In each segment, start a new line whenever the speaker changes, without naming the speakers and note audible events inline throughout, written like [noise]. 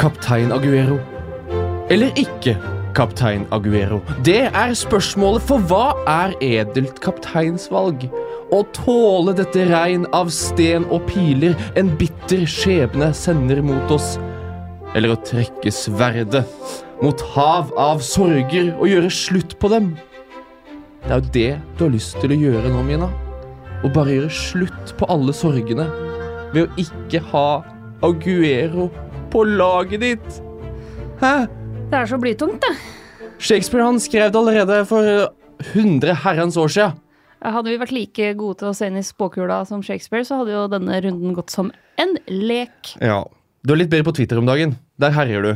kaptein Aguero? Eller ikke kaptein Aguero? Det er spørsmålet, for hva er edelt kapteinsvalg? Å tåle dette regn av sten og piler en bitter skjebne sender mot oss. Eller å trekke sverdet mot hav av sorger og gjøre slutt på dem. Det er jo det du har lyst til å gjøre nå, Mina. Å bare gjøre slutt på alle sorgene ved å ikke ha Aguero på laget ditt. Hæ?
Det er så blytungt, det.
Shakespeare han skrev det allerede for eh, 100 herrens år siden.
Hadde vi vært like gode til å se inn i spåkula som Shakespeare, så hadde jo denne runden gått som en lek.
Ja. Du er litt bedre på Twitter om dagen. Der herjer du,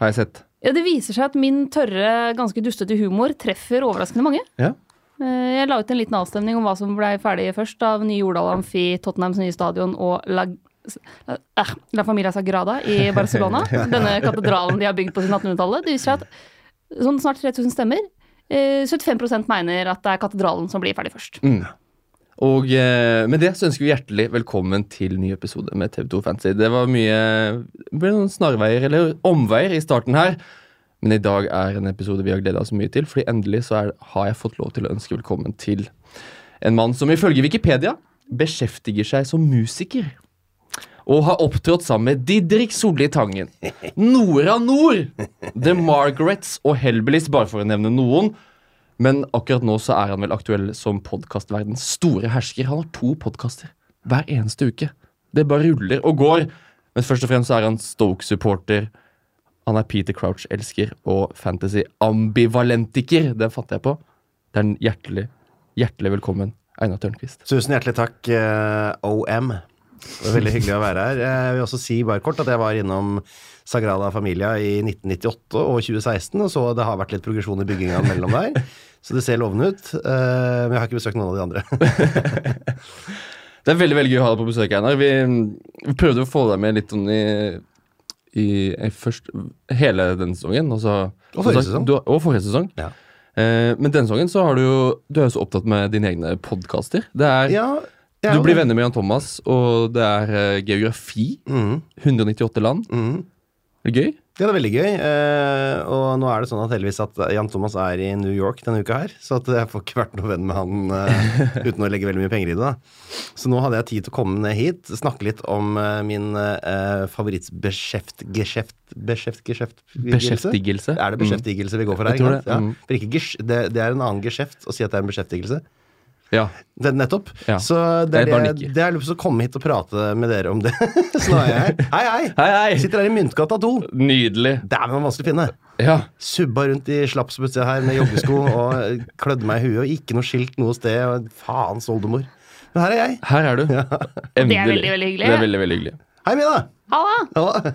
har jeg sett.
Ja, det viser seg at min tørre, ganske dustete humor treffer overraskende mange.
Ja.
Eh, Jeg la ut en liten avstemning om hva som ble ferdig først av nye Jordal Amfi, Tottenhams nye stadion og La, eh, La Familia Sagrada i Barcelona. Denne katedralen de har bygd på siden 1800-tallet. Det viser seg at sånn snart 3000 stemmer. eh, 75 mener at det er katedralen som blir ferdig først.
Og eh, med det så ønsker vi hjertelig velkommen til ny episode med TV2 Fancy. Det var mye det ble noen snarveier eller omveier i starten her. Men i dag er en episode vi har gleda oss mye til, fordi endelig så er, har jeg fått lov til å ønske velkommen til en mann som ifølge Wikipedia beskjeftiger seg som musiker. Og har opptrådt sammen med Didrik Solli Tangen, Nora Nord, The Margarets og Hellbillies, bare for å nevne noen. Men akkurat nå så er han vel aktuell som podkastverdens store hersker. Han har to podkaster hver eneste uke. Det bare ruller og går. Men først og fremst så er han Stoke-supporter. Han er Peter Crouch-elsker og fantasy-ambivalentiker. Det fatter jeg på. Det er en hjertelig, hjertelig velkommen, Einar Tørnquist.
Tusen hjertelig takk, eh, OM. Det var veldig hyggelig å være her. Eh, Jeg vil også si bare kort at jeg var innom Sagrada Familia i 1998 og 2016, og så det har vært litt progresjon i bygginga mellom der. Så det ser lovende ut. eh, Men jeg har ikke besøkt noen av de andre. [laughs]
Det er veldig veldig gøy å ha deg på besøk, Einar. Vi, vi prøvde å få deg med litt sånn i, i, i først, hele denne sesongen. Og, så,
Og forrige sesong.
Du, og forrige sesong.
Ja.
Eh, men denne sesongen så har du jo Du er jo så opptatt med dine egne podkaster. Det er
Ja, jeg er
Du
jo
blir
det.
venner med Jan Thomas, og det er eh, geografi.
Mm.
198 land.
Mhm.
Er det gøy?
Ja, det er veldig gøy. eh, Og nå er det sånn at heldigvis at Jan Thomas er i New York denne uka her, så at jeg får ikke vært noe venn med han eh, uten å legge veldig mye penger i det. da. Så nå hadde jeg tid til å komme ned hit, snakke litt om eh, min eh, favorittbeskjeft... Beskjeft... Geskjeft...
Beskjeftigelse.
Er det beskjeftigelse vi går for her?
Jeg tror
ikke sant?
det, mm.
Ja. For ikke gesh, det, det er en annen geskjeft å si at det er en beskjeftigelse.
Mm. Ja.
Det, nettopp.
Ja.
Så det
Jeg
er
bare
det,
nikker.
det er lyst til å komme hit og prate med dere om det. [laughs] så nå er jeg her. Hei, hei!
Hei, hei!
Sitter her i Myntgata 2.
Nydelig.
Dæven, det var vanskelig å finne.
Ja.
Subba rundt i slapsbuksa her med joggesko og klødde meg i huet, og ikke noe skilt noe sted. Og faens oldemor. Men her er jeg.
Her er du. Endelig.
veldig, veldig hyggelig.
Det er veldig, veldig hyggelig.
Hei, Mina!
Halla!
Ja,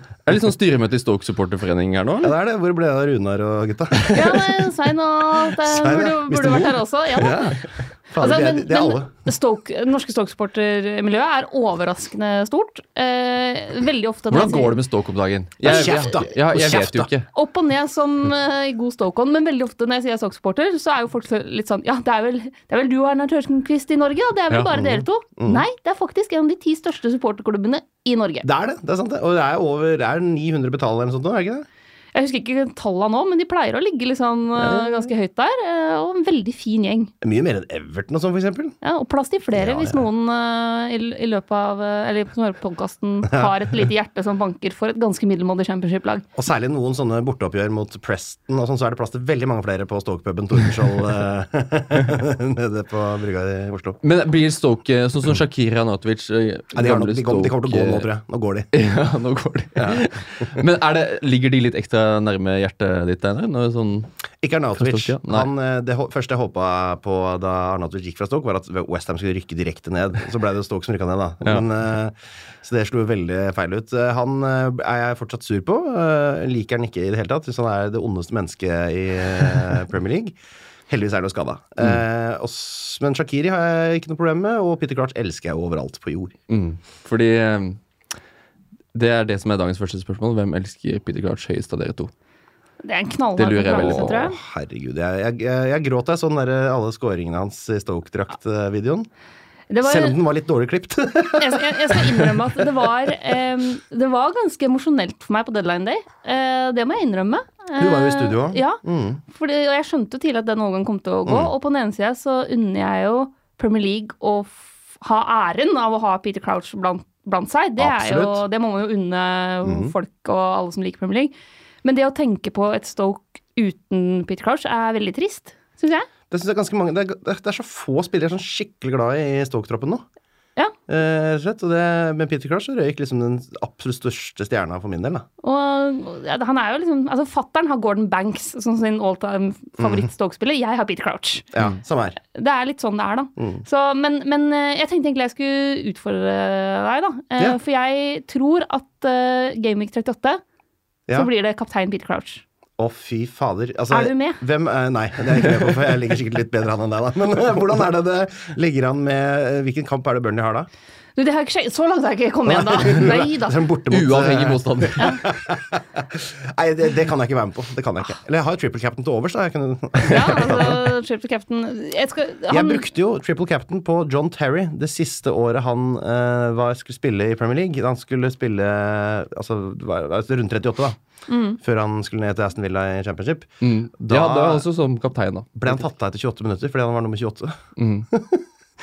Er det litt sånn styremøte i Stoke-supporterforeningen her nå?
det
eller?
er det. Hvor ble det av Runar og
[laughs]
gutta?
Ja, men Svein og det
Svein, ja.
burde, burde
Mr.
vært her også. Ja, da.
Ja. Fader,
Altså,
det, er-
men,
det er alle.
men Stoke, det norske Stoke-supportermiljøet er overraskende stort. Eh, veldig ofte
Hvordan går det med Stoke om dagen? Jeg,
Kjeft, da.
Ja, jeg
Kjeft,
vet jo
da.
ikke.
Opp og ned som eh, i god Stoke-ånd, men veldig ofte når jeg sier Stoke-supporter, så er jo folk så- litt sånn Ja, det er vel, det er vel du og Erna Tørsenquist i Norge, da? Det er vel
Ja.
bare dere to? Nei, det er faktisk en av de ti største supporterklubbene i Norge.
Det er det. det er sant det. Og det er over det er 900 betalere eller noe sånt nå, er det ikke det?
Jeg husker ikke tallene nå, men de pleier å ligge liksom eh, ganske høyt der. eh, Og en veldig fin gjeng.
Mye mer enn Everton og sånn, for eksempel.
Ja, og plass til flere
Ja,
hvis
ja.
noen eh, i, i løpet av eh, Eller som hører på
[laughs]
podkasten, har et lite hjerte som banker for et ganske middelmådig championship-lag.
Og særlig noen sånne borteoppgjør mot Preston og sånn, så er det plass til veldig mange flere på Stokepuben Tordenskjold eh, [laughs] nede på brygga i Oslo.
Men blir Stoke eh, sånn som Shakira Natovic eh,
Nei, Mm. de, har nok,
gamle
de, kommer, de kommer til å gå nå,
Stoke,
tror jeg. Nå går de.
[laughs] Ja, nå går de. [laughs] Men er det, ligger de litt ekstra nærme hjertet ditt, Einar? Når Sånn,
Ikke Arnautovic.
Fra Stoke, ja. Nei.
Han, eh, det hå- første jeg håpa på da Arnautovic gikk fra Stoke, var at Westham skulle rykke direkte ned. Så ble det Stoke som rykka ned, da.
Ja.
Men, eh, så det slo veldig feil ut. Eh, Han eh, er jeg fortsatt sur på. Eh, Liker han ikke i det hele tatt. Syns han er det ondeste mennesket i eh, Premier League. Heldigvis er det jo skada. Eh, og s- men Shakiri har jeg ikke noe problem med, og Peter Clarch elsker jeg overalt på jord.
mm. Fordi eh, det er det som er dagens første spørsmål. Hvem elsker Peter Crouch høyest av dere to?
Det er en
Det
knallhard
lurer jeg veldig
konkurranse,
på.
tror jeg.
eh, herregud. Jeg, jeg, jeg, jeg gråt da jeg så den der, alle scoringene hans i Stoke-drakt-videoen.
Det var,
eh, Selv om den var litt dårlig klipt. [laughs]
jeg, jeg, jeg skal innrømme at det var, eh, det var ganske emosjonelt for meg på deadline day. Eh, det må jeg innrømme.
Du var jo i studio også.
Eh, Ja,
Mm.
fordi, og jeg skjønte jo tidlig at den overgangen kom til å gå. Og på den ene sida så unner jeg jo Premier League å f ha æren av å ha Peter Crouch blant, blant seg. Det, er jo,
Absolutt.
det må man jo unne folk og alle som liker Premier League. Men det å tenke på et Stoke uten Peter Crouch er veldig trist, syns jeg.
Det synes jeg er ganske mange, det er, det er så få spillere som er skikkelig glad i Stoke-troppen nå.
Ja.
Eh, rett og slett, og det, med Peter Crush røyk liksom den absolutt største stjerna for min del. da.
Og ja, han er jo liksom Altså, fattern har Gordon Banks som sin alltime favoritt-Stoke-spiller. Jeg har Peter Crouch.
Ja, Samme her.
Det er litt sånn det er, da.
Mm.
Så, men, men eh, jeg tenkte egentlig jeg skulle utfordre deg, da. Eh,
Ja.
For jeg tror at eh, Game Week 38,
Ja.
så blir det kaptein Peter Crouch.
Å, fy fader. Altså,
Er du med?
Hvem, eh, nei, det er jeg ikke med på, for jeg ligger sikkert litt bedre an enn deg, da. Men eh, hvordan er det det ligger an med eh, Hvilken kamp er det Burnley har, da?
Du, det har jeg ikke sjekket. Så langt har jeg ikke kommet
[laughs]
igjen, da. Nei da.
Sånn borte mot,
Uavhengig
eh, [laughs]
motstander.
Nei, det, det kan jeg ikke være med på. Det kan jeg ikke. Eller jeg har jo triple captain til overs, da. Jeg, kunne...
Ja, altså, Chip to Captain jeg skal,
jeg
han,
brukte jo triple captain på John Terry det siste året han eh, var, skulle spille i Premier League. Han skulle spille altså, det var- det var rundt 38, da. Før han skulle ned til Aston Villa i Championship.
Mm.
Da-
ja, det er også som kaptein, da.
Ble han tatt av etter 28 minutter fordi han var nummer 28? Mm. [laughs]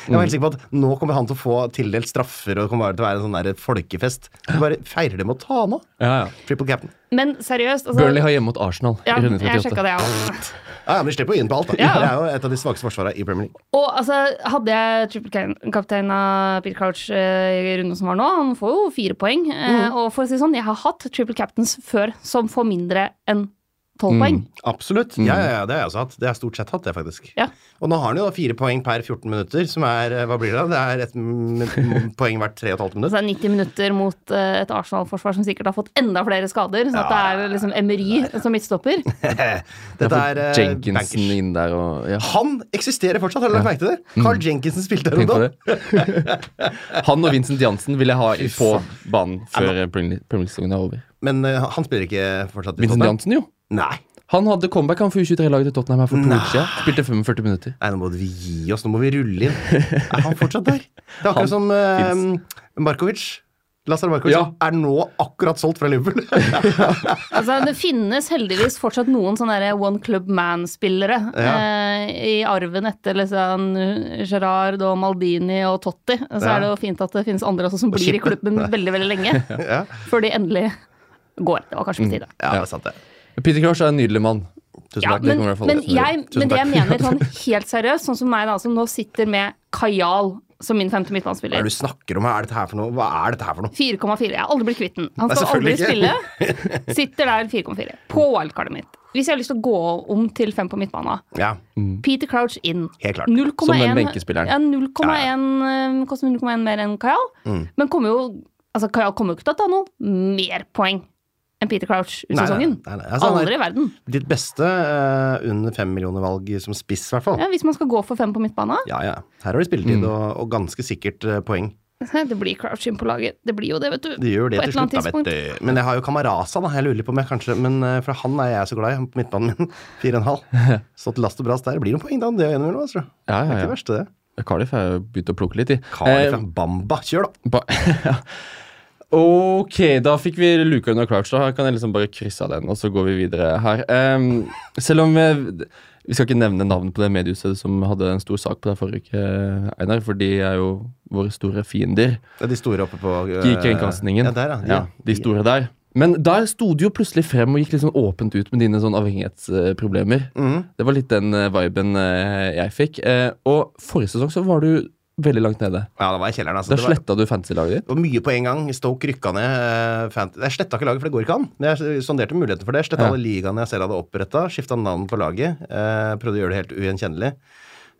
Jeg var helt sikker på at nå kommer han til å få tildelt straffer, og det kommer bare til å være en sånn der folkefest. De bare feirer det med å ta han av.
Ja, ja.
Triple captain.
men seriøst, altså
Burnley har hjemme mot Arsenal
ja,
i runde
jeg
38.
sjekka det, jeg også.
Ja, ja, men de slipper jo inn på alt, da.
Ja.
Det er jo et av de svakeste forsvarene i Premier League.
Og altså, hadde jeg trippelkaptein av Peter Crouch eh, i runden som var nå, han får jo fire poeng.
Mm.
Eh, og for å si det sånn, jeg har hatt triple captains før som får mindre enn
Mm.
tolv poeng.
Absolutt. Ja, ja, ja, det har jeg også hatt. Det har jeg stort sett hatt, det, faktisk.
Ja.
Mm. Og nå har han jo da fire poeng per 14 minutter, som er eh, Hva blir det? da? Det er ett min- poeng hvert 3,5
[laughs]
minutt.
Altså 90 minutter mot eh, et Arsenal-forsvar som sikkert har fått enda flere skader. Så at det er liksom Emery som midtstopper.
[laughs] Dette er eh,
Jenkinsen
bankers.
inn der og ja.
Han eksisterer fortsatt, har du lagt merke til det? Carl Jenkinson spilte her
Tenk
om
på
dagen.
det. [laughs] Han og Vincent Jansen vil jeg ha i- på banen før eh, Premier League-sesongen er over.
Men eh, han spiller ikke fortsatt. i
Vincent
Tottenham.
Jansen, jo.
Nei.
Han hadde comeback han for U23-laget til Tottenham her for to uker siden. Spilte 45 minutter.
Nei, nå må vi gi oss, nå må vi [laughs] rulle inn. Er han fortsatt der? Det er akkurat som eh, Markovic. Lazar Markovic
Ja.
er nå akkurat solgt fra [laughs] Liverpool.
Altså, det finnes heldigvis fortsatt noen sånne der one club man-spillere eh, i arven etter liksom, Gerard og Maldini og Totti. Så
Ja.
er det jo fint at det finnes andre også som blir i
Chippen.
klubben
[laughs]
veldig, veldig lenge.
ja.
før de endelig går. Det var kanskje på tide.
ja, det er sant, det.
Peter Crouch er en nydelig mann.
Tusen
Ja,
takk.
men,
kommer i hvert fall
men,
til.
jeg,
Tusen
men det jeg
takk.
mener
[laughs]
sånn helt seriøst, sånn som meg da, som nå sitter med Kajal som min femte
Hva er
midtbanespiller.
det du snakker om? Hva er dette her for noe? Hva er dette her for noe?
4,4. Jeg har aldri blitt kvitt den. Han
Nei,
skal aldri spille.
selvfølgelig
Sitter der 4,4. På wildcardet mitt. Hvis jeg har lyst til å gå om til fem på midtbana
Ja,
Peter Crouch inn.
Mm. helt klart.
0,1
Som den benkespilleren.
Ja, 0,1 eh, koster 0,1 mer enn Kajal.
Mm.
Men kommer jo Altså, Kajal kommer jo ikke til å ta noe mer poeng enn Peter Crouch ut
Nei, nei,
sesongen.
nei, nei. Altså, han er-
aldri i verden.
Ditt beste eh, under fem millioner valg som spiss, i hvert fall.
Ja, hvis man skal gå for fem på midtbane.
Ja, ja. Her har du spilletid
Mm.
og, og ganske sikkert eh, poeng.
Det blir crouch inn på laget. Det blir jo det, vet du.
Det gjør jo det
På et
til
eller annet
slutt, da, vet du. Men jeg har jo Kamarasa, da. Jeg lurer litt på om jeg kanskje Men eh, for han er jeg så glad i, han på midtbanen min. [laughs] Fire
[laughs]
og en halv. Stått last og brast der. Blir det noen poeng da? Det er jo gjennom, altså.
Ja,
Det
ja,
er ikke det
ja.
verste, det. Eh,
Cardiff har jo begynt å plukke litt, de. Eh,
Kari fra Bamba. Kjør, da.
Ba [laughs] ja. Ok, da fikk vi luka unna Crouch. Da kan jeg liksom bare krysse av den, og så går vi videre her. Ehm, selv om vi, vi skal ikke nevne navnet på det mediehuset som hadde en stor sak på det forrige uke, Einar, for de er jo våre store fiender
Det er de store oppe på eh,
i kringkastingen.
Ja, der, ja. De,
ja, de store der. Men der sto du jo plutselig frem og gikk litt sånn åpent ut med dine sånn avhengighetsproblemer.
Mhm.
Det var litt den eh, viben eh, jeg fikk. Eh, og forrige sesong så var du veldig langt nede.
Ja, da var jeg i kjelleren, altså.
Da
Det var,
sletta du fancy-laget ditt.
det var mye på en gang. Stoke rykka ned. eh, Fant- Jeg sletta ikke laget, for det går ikke an. Men Jeg sonderte muligheten for det. Sletta
Ja.
alle ligaene jeg selv hadde oppretta. Skifta navn på laget. eh, Prøvde å gjøre det helt ugjenkjennelig.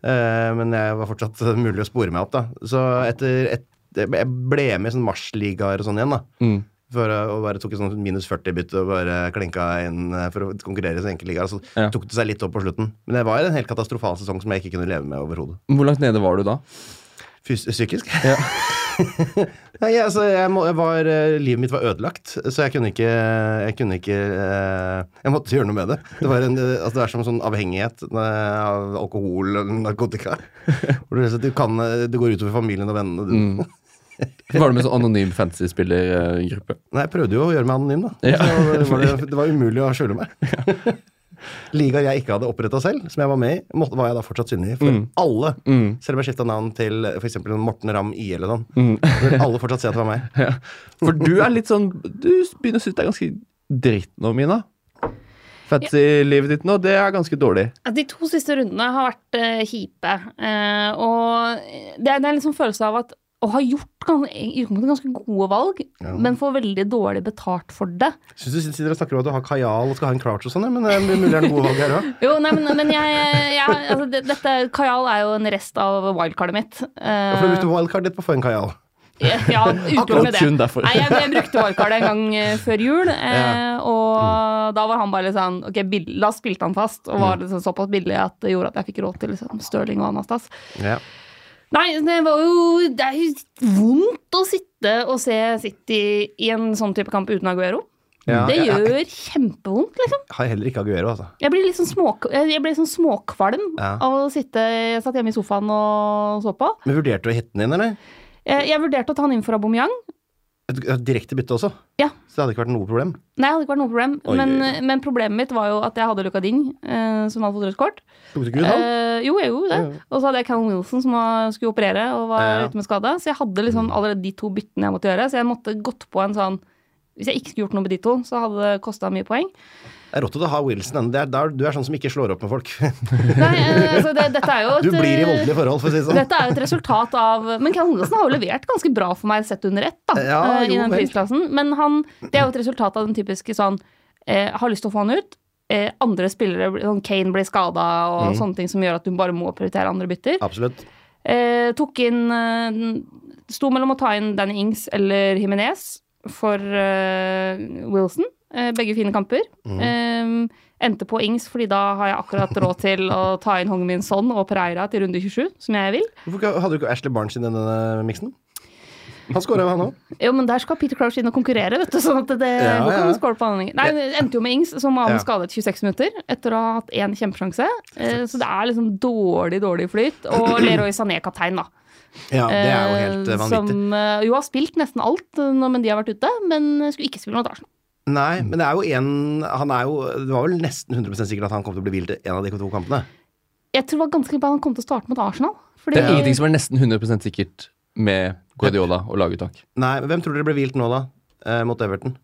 Eh, Men jeg var fortsatt [laughs] eh, mulig å spore meg opp, da. Så etter et, Jeg ble med i sånn marsligaer og sånn igjen, da.
Mm.
For å og bare tok et sånt minus 40-bytte og bare klinka inn eh, for å konkurrere i sin enkeltliga. Så
Ja.
tok det seg litt opp på slutten. Men det var en helt katastrofal sesong som jeg ikke kunne leve med overhodet.
Hvor langt nede var du da?
Fys- Psykisk? [laughs] Nei, jeg, altså, jeg, må, jeg var, eh, livet mitt var ødelagt, så jeg kunne ikke Jeg, kunne ikke, eh, jeg måtte gjøre noe med det. Det, var en, eh, altså, det er som en sånn avhengighet eh, av alkohol og narkotika. Hvor du, rett og slett- du kan, eh, det går utover familien og vennene. Du.
Var du med sånn anonym fantasy-spillergruppe?
Nei, jeg prøvde jo å gjøre meg anonym, da.
Ja.
Så var det, det var umulig å skjule meg. Ligaer jeg ikke hadde oppretta selv, som jeg var med i, måtte, var jeg da fortsatt synlig for alle.
Mm,
Selv om jeg skifta navn til f.eks. Morten Ramm IE eller noe sånt. Så vil alle fortsatt si at det var meg.
Ja. mm. For du er litt sånn Du begynner å synes det er ganske dritt nå, Mina. Fantasy-livet ditt nå, det er ganske dårlig.
Ja, De to siste rundene har vært eh, kjipe. eh, og det er, det er liksom følelse av at å ha gjort gans i utgangspunktet ganske gode valg, men får veldig dårlig betalt for det.
Syns du sitter og snakker om at du har kajal og skal ha en crouch og sånn, ja, men det er mulig det er noen gode valg her òg.
Jo, nei, men, men jeg, jeg altså, det, dette, Kajal er jo en rest av wildcardet mitt. Eh,
For du brukte wildcard ditt på å få en kajal.
ja, utelukkende
Akkurat
det.
kun derfor.
Nei, jeg, jeg brukte wildcardet en gang eh, før jul, eh, og da var han bare litt sånn Ok, bill- da spilte han fast, og var liksom såpass billig at det gjorde at jeg fikk råd til liksom, Stirling og Anastas.
Ja.
Nei, det var jo Det er jo vondt å sitte og se City i en sånn type kamp uten Aguero.
Ja,
det
jeg- jeg-
gjør kjempevondt, liksom.
Har heller ikke Aguero, altså.
Jeg blir litt sånn småk- jeg blir sånn småkvalm
Ja.
av å sitte Jeg satt hjemme i sofaen og så på.
Men vurderte du å hitte den inn, eller?
Jeg, jeg vurderte å ta han inn for Aubameyang.
Et- et Direkte bytte også.
Ja.
Så det hadde ikke vært noe problem.
Nei, det hadde ikke vært noe problem,
Oi,
men,
oi,
men problemet mitt var jo at jeg hadde Luca Ding, eh, som hadde fått rødt kort.
Tok du ikke ut han?
Eh, jo, jeg gjorde det.
Ja, ja.
Og så hadde jeg Callum Wilson som var, skulle operere og var
Ja, Mm. ja.
ute med skade. Så jeg hadde liksom allerede de to byttene jeg måtte gjøre. Så jeg måtte gått på en sånn Hvis jeg ikke skulle gjort noe med de to, så hadde det kosta mye
[laughs]
poeng.
Det er rått å ha Wilson. Det er, det er, du er sånn som ikke slår opp med folk.
Nei, eh, så det, dette er jo et
[laughs] Du blir
eh,
i voldelige forhold, for å si det sånn.
Dette er jo et resultat av Men Callum Wilson har jo levert ganske bra for meg sett under ett, da.
Ja,
eh,
jo,
I den
vel.
prisklassen. Men han, det er jo et resultat av den typiske sånn eh, Har lyst til å få han ut. Eh, andre spillere, blir- sånn Kane blir skada og
Mm.
sånne ting som gjør at du bare må prioritere andre bytter.
Absolutt.
Eh, tok inn eh, Sto mellom å ta inn Danny Ings eller Jimenez for eh, Wilson. Eh, begge fine kamper.
Mhm.
Eh, endte på Ings, fordi da har jeg akkurat råd til å ta inn Hong Min Son og Pereira til runde 27, som jeg vil.
Hvorfor ikke- hadde du ikke Ashley Barnes i denne miksen? Han scora jo, han òg.
Jo, men der skal Peter Crouch inn og konkurrere, vet du. Sånn at det
Ja,
går ikke
ja.
an å skåle på anledningen. Nei, det endte jo med Ings, som var
Ja.
skadet 26 minutter etter å ha hatt én kjempesjanse. Eh, så det er liksom dårlig, dårlig flyt. Og Leroy Sané kaptein, da.
Ja, det er jo helt eh,
Eh,
vanvittig.
Som eh, jo har spilt nesten alt eh, når de har vært ute, men skulle ikke spille mot Arsenal.
Nei, men det er jo en Han er jo Det var vel nesten 100 sikkert at han kom til å bli hvilt i en av de to kampene.
Jeg tror det var ganske sikkert han kom til å starte mot Arsenal. Fordi,
Det er ingenting som er nesten 100 sikkert med Guardiola og laguttak.
Nei, men hvem tror dere ble hvilt nå, da? Eh, mot Everton?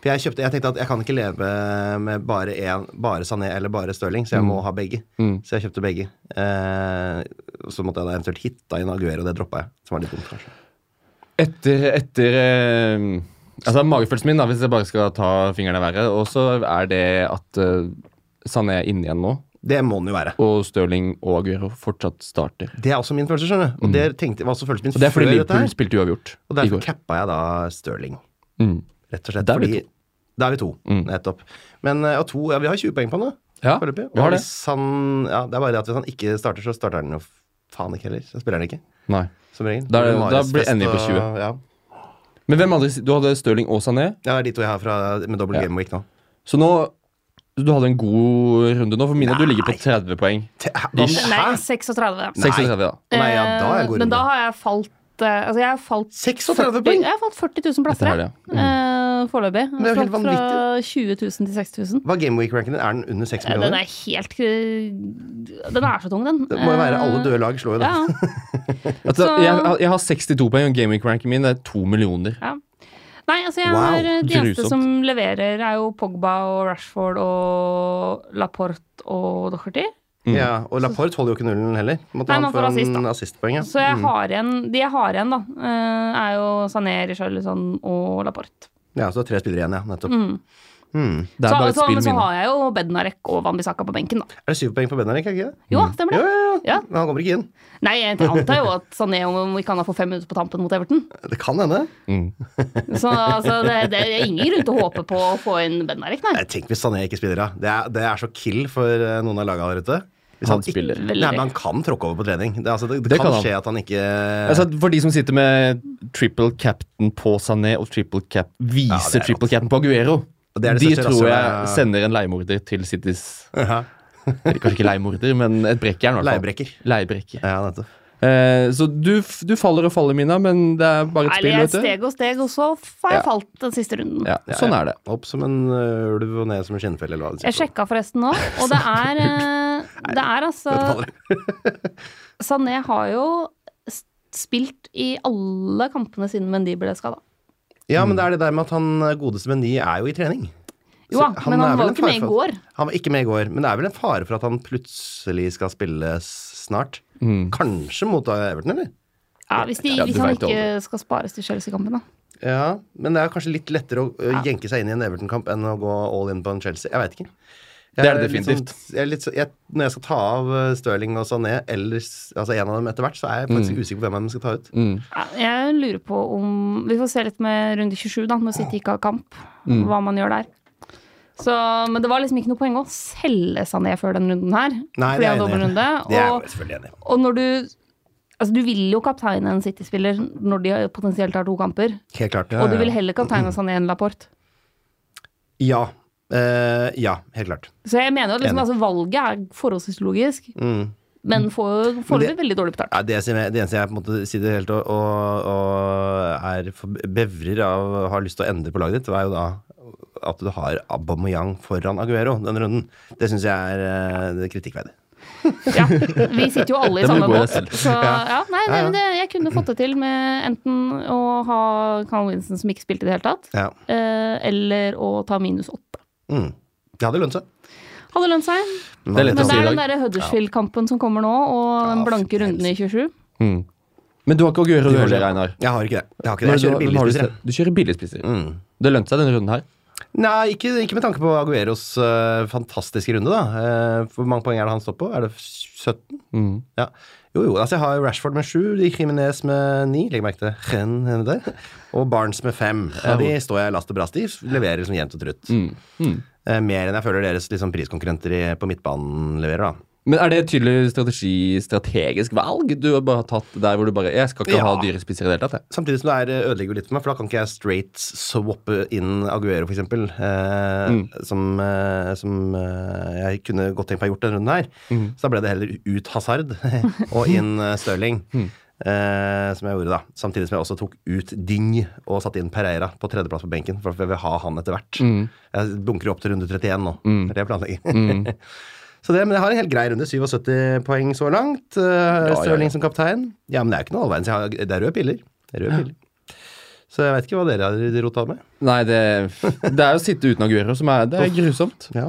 For jeg, kjøpte, jeg tenkte at jeg kan ikke leve med bare én, bare Sané eller bare Stirling, så jeg må ha begge.
Mm.
Så jeg kjøpte begge. Eh, så måtte jeg da eventuelt hitta inn Aguero, det droppa jeg. Som var litt dumt, kanskje.
Etter, etter eh, Altså Magefølelsen min, da, hvis jeg bare skal ta fingrene i været, og så er det at eh, Sané er inne igjen nå,
Det må den jo være.
og Stirling og Aguero fortsatt starter.
Det er også min følelse, skjønner du. Og det tenkte, var også følelsen min
Mm. Og Det er fordi
før dette
Liverpool
her.
spilte uavgjort
Og
i
derfor
går.
cappa jeg da Stirling,
Mm.
rett og slett.
Der er vi Mm.
fordi- Da er vi to, nettopp. Men eh, og to, ja, vi har 20 poeng på nå,
Ja,
foreløpig.
vi har
Og
det.
hvis han Ja, det er bare det at hvis han ikke starter, så starter han jo faen ikke heller. Så spiller han ikke,
Nei.
som regel.
Da er det- da
Det
blir
Mares
det
fest
endelig på
og-
20.
Ja.
Men hvem andre Du hadde Stirling og Sané.
ja, det er de to jeg har fra, med dobbel
Ja.
game week nå.
Så nå Du hadde en god runde nå, for Mina, du ligger på 30 poeng. Ish.
Nei,
Hæ?
36.
36, da.
Nei, ja, da er jeg
Eh,
god
Men
runde.
da har jeg falt eh, Altså, jeg har falt
36
40
poeng!
Jeg har falt 40 000 plasser,
Dette her,
jeg. Eh, Foreløpig.
det er jo helt
Falt Fra 20 000 til 60 000.
Hva game week-ranken din? Er den under 6
Eh, Den
millioner?
er helt eh, Den er så tung, den.
Det må jo være alle
Eh,
døde lag slår jo det.
Ja, ja.
Altså,
Så-
jeg, jeg har 62 poeng, og gaming-ranken min er 2 millioner.
Nei, altså jeg
Wow,
har De eneste
grusomt.
som leverer, er jo Pogba og Rashford og Laporte og Docherty.
Mm.
Ja, og Laporte holder jo ikke nullen heller. Måtte
Nei,
han
man
få
får assist,
en
da.
assistpoeng, ja.
Så jeg
Mm.
har igjen, de jeg har igjen, da, eh, er jo Sané, Richarlison og Laporte.
Ja, så det er tre spillere igjen, ja. Nettopp.
Det
Så,
er bare et
så,
spill, Mm.
men så
Mina.
har jeg jo Bednarek og Wanbisaka på benken, da.
Er det syv poeng på Benarek, er det ikke det?
Jo, stemmer
Ja,
det.
ja, ja.
Ja.
Men han kommer ikke inn.
Nei, jeg antar jo at Sané om ikke han har fått fem minutter på tampen mot Everton.
Det kan hende.
Så altså, det, det er ingen grunn til å håpe på å få inn Bednarek, nei.
Jeg tenker hvis Sané ikke spiller, da. Det er, det er så kill for eh, noen av lagene der ute. Hvis
Han
ikke-
spiller.
Nei, men han kan tråkke over på trening. Det, altså, det, det,
Det
kan,
kan han.
skje at han ikke
[laughs] Altså, for de som sitter med triple captain på Sané og triple cap viser
Ja, det er
triple captain på Aguero,
Og det er det
de
største
tror jeg
rasshølet-
sender en leiemorder til Citys
Ja.
eller Kanskje ikke leiemorder, men et brekkjern. i hvert fall.
Leiebrekker.
Leiebrekker.
Ja, nettopp.
Eh, så du, f- du faller og faller, Mina, men det er bare et
Eller jeg
spill, vet du.
steg og steg, og så har jeg
Ja.
falt den siste runden.
Ja,
Ja,
sånn
ja.
er det.
Opp som en øh, ulv og ned som en skinnfelle, eller hva det
Jeg sjekka forresten nå, og det er
[laughs]
eh, Det er altså Sané har jo s- spilt i alle kampene siden Mendy ble skada.
Ja, men det er det der med at han øh, godeste Mendy er jo i trening.
Jo da,
Så
men
er
han
vel
var jo
en
ikke
fare
med i
for-
går.
Han var ikke med i går, men det er vel en fare for at han plutselig skal spilles snart.
Mm.
Kanskje mot Everton, eller?
Ja, hvis, de,
Ja, du
hvis han
vet
ikke skal spares til Chelsea-kampen, da.
Ja, men det er kanskje litt lettere å øh, jenke seg inn i en Everton-kamp enn å gå all in på en Chelsea. Jeg veit ikke. Jeg
Det er det
litt
definitivt.
Sånn, jeg er litt så, jeg, når jeg skal ta av øh, Stirling og Sané, eller s- altså en av dem etter hvert, så er jeg
Mm.
faktisk usikker på hvem av dem jeg skal ta ut.
Ja, Jeg lurer på om Vi får se litt med runde 27, da, når City ikke har kamp.
Mm.
Hva man gjør der. Så, men det var liksom ikke noe poeng å selge seg ned før den runden her.
Nei,
fordi jeg hadde
det er jeg enig i.
dobbeltrunde.
Det er
Og,
jeg selvfølgelig enig i.
og når du Altså, du vil jo kapteine en City-spiller når de potensielt har to kamper.
Helt klart.
Og du vil heller kapteine Sané enn Laporte.
Ja. Eh, ja, helt klart.
Så jeg mener jo at liksom,
Enig.
altså, valget er forholdsvis logisk,
Mm.
men får jo foreløpig veldig dårlig betalt.
Ja, det, som jeg, det eneste jeg på en måte sier det helt og, og, og er for, bevrer av og har lyst til å endre på laget ditt, er jo da at du har Aubameyang foran Aguero denne runden. Det syns jeg er eh, det er kritikkverdig.
Ja, vi
[laughs]
sitter jo alle i
Det må
samme
gå i deg
båt.
selv.
Så ja, nei, nei,
Ja, ja.
men det, jeg kunne fått det til med enten å ha Carl Winston som ikke spilte i det hele tatt,
Ja.
eh, eller å ta minus åtte.
Mm. Det hadde lønt seg.
Hadde lønt seg.
Men eh,
Det er lett å
Men
si
det
i
er den
dag.
derre Huddersfield-kampen som kommer nå, og den
Ja,
blanke
for
runden i 27.
Men du har ikke Aguero, du
har
heller,
det.
Reinar.
Jeg har ikke det. Jeg, har ikke det. jeg
Hvem har
kjører
du- hvem har du
billigspisser. jeg.
sett? Du kjører billigspisser.
Mm.
Det lønte seg denne runden her.
Nei, ikke, ikke med tanke på Agueros eh, fantastiske runde, da. Eh, hvor mange poeng er det han står på? Er det 17? Ja. Jo, jo. Altså, jeg har Rashford med 7, Jimenez med 9, legg merke til det. Ren, henne der. Og Barnes med 5. Eh, de står jeg last og brast i. Leverer liksom jevnt og trutt. Eh, mer enn jeg føler deres liksom, priskonkurrenter i, på midtbanen leverer, da.
Men er det et tydelig strategi, strategisk valg du har bare tatt der hvor du bare Jeg skal ikke
Ja.
ha dyre spisser i det hele tatt, jeg.
Samtidig som det er, eh, ødelegger jo litt for meg, for da kan ikke jeg straight swappe inn Aguero, f.eks., eh, som, eh, som eh, jeg kunne godt tenkt meg gjort denne runden her. Så da ble det heller ut Hazard [laughs] og inn eh, Stirling, eh, som jeg gjorde da. Samtidig som jeg også tok ut Ding og satte inn Pereira på tredjeplass på benken, for jeg vil ha han etter hvert. Jeg bunker opp til runde 31 nå, det er det jeg planlegger. [laughs] Så det, men jeg har en helt grei runde. 77 poeng så langt. Uh,
ja,
Stirling
ja.
som kaptein. Ja, men det er jo ikke noe allverdens. Jeg har- Det er røde piller. Det er røde piller. Så jeg veit ikke hva dere har rota med.
Nei, det, det er jo å sitte uten Aguero som er Det er grusomt.
Ja.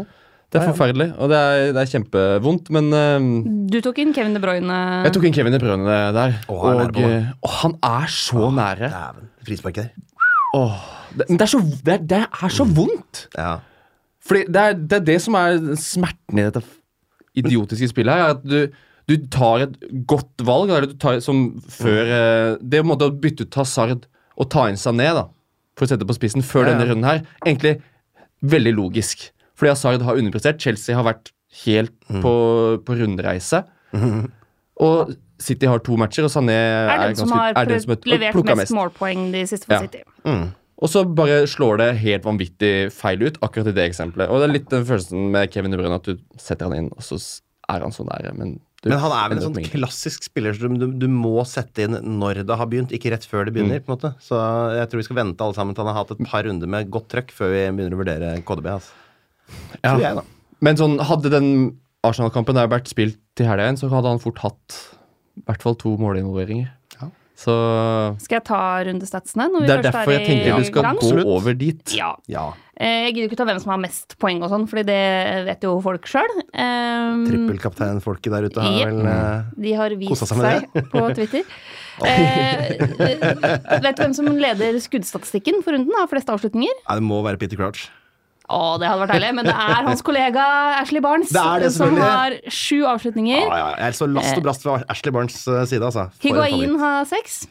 Det er forferdelig, og det er, det er kjempevondt, men eh,
Du tok inn Kevin De Bruyne.
Jeg tok inn Kevin De Bruyne der,
Å,
og,
han er nære på det.
eh, å, han er så nære.
Dæven. Frisparket der.
Åh, det, men det er, så, det, er, det er så vondt!
Ja.
Fordi det er, det er det som er smerten i dette f- idiotiske spillet her. At du, du tar et godt valg. Eller du tar, som før
Mm.
eh, Det er på en måte å bytte ut Hazard og ta inn Sané, da. For å sette det på spissen før
Ja, ja.
denne runden her. Egentlig veldig logisk. Fordi Hazard har underprestert. Chelsea har vært helt
Mm.
på, på rundreise.
Mm-hmm.
Og City har to matcher, og Sané er,
er den som
ganske,
har
er den som er-
levert
plukket
mest, målpoeng de siste for
Ja.
City.
og så bare slår det helt vanvittig feil ut, akkurat i det eksempelet. Og det er litt den følelsen med Kevin De Bruyne, at du setter han inn, og så s- er han så nære, men du
Men han er
ender
vel en
opp
sånn
med ingenting.
klassisk spiller som du, du må sette inn når det har begynt, ikke rett før det begynner. på en måte. Så jeg tror vi skal vente alle sammen til han har hatt et par runder med godt trøkk før vi begynner å vurdere KDB. Altså. Tror jeg, da.
Men sånn, hadde den Arsenal-kampen der vært spilt til helga igjen, så hadde han fort hatt i hvert fall to målinvolveringer.
Ja.
Så
Skal jeg ta rundestatsene når vi
det er
først
derfor jeg tenker du
er i
skal
gang?
gå over dit.
Ja.
Ja.
Eh, Jeg gidder ikke ta hvem som har mest poeng og sånn, fordi det vet jo folk sjøl.
Trippelkapteinfolket der ute har
Jepp.
vel eh,
De har vist
Kosa seg med
seg på
[laughs]
Twitter. Eh, vet du hvem som leder skuddstatistikken for runden? Har flest avslutninger?
Nei, det må være Peter Crouch.
Å, det hadde vært deilig, men det er hans kollega Ashley Barnes
Det er det,
som
selvfølgelig.
har sju avslutninger.
Ja, ja, ja. Jeg er så last og brast fra Ashley Barnes eh, side, altså. For en
Eh, Higuain
favoritt.
har seks.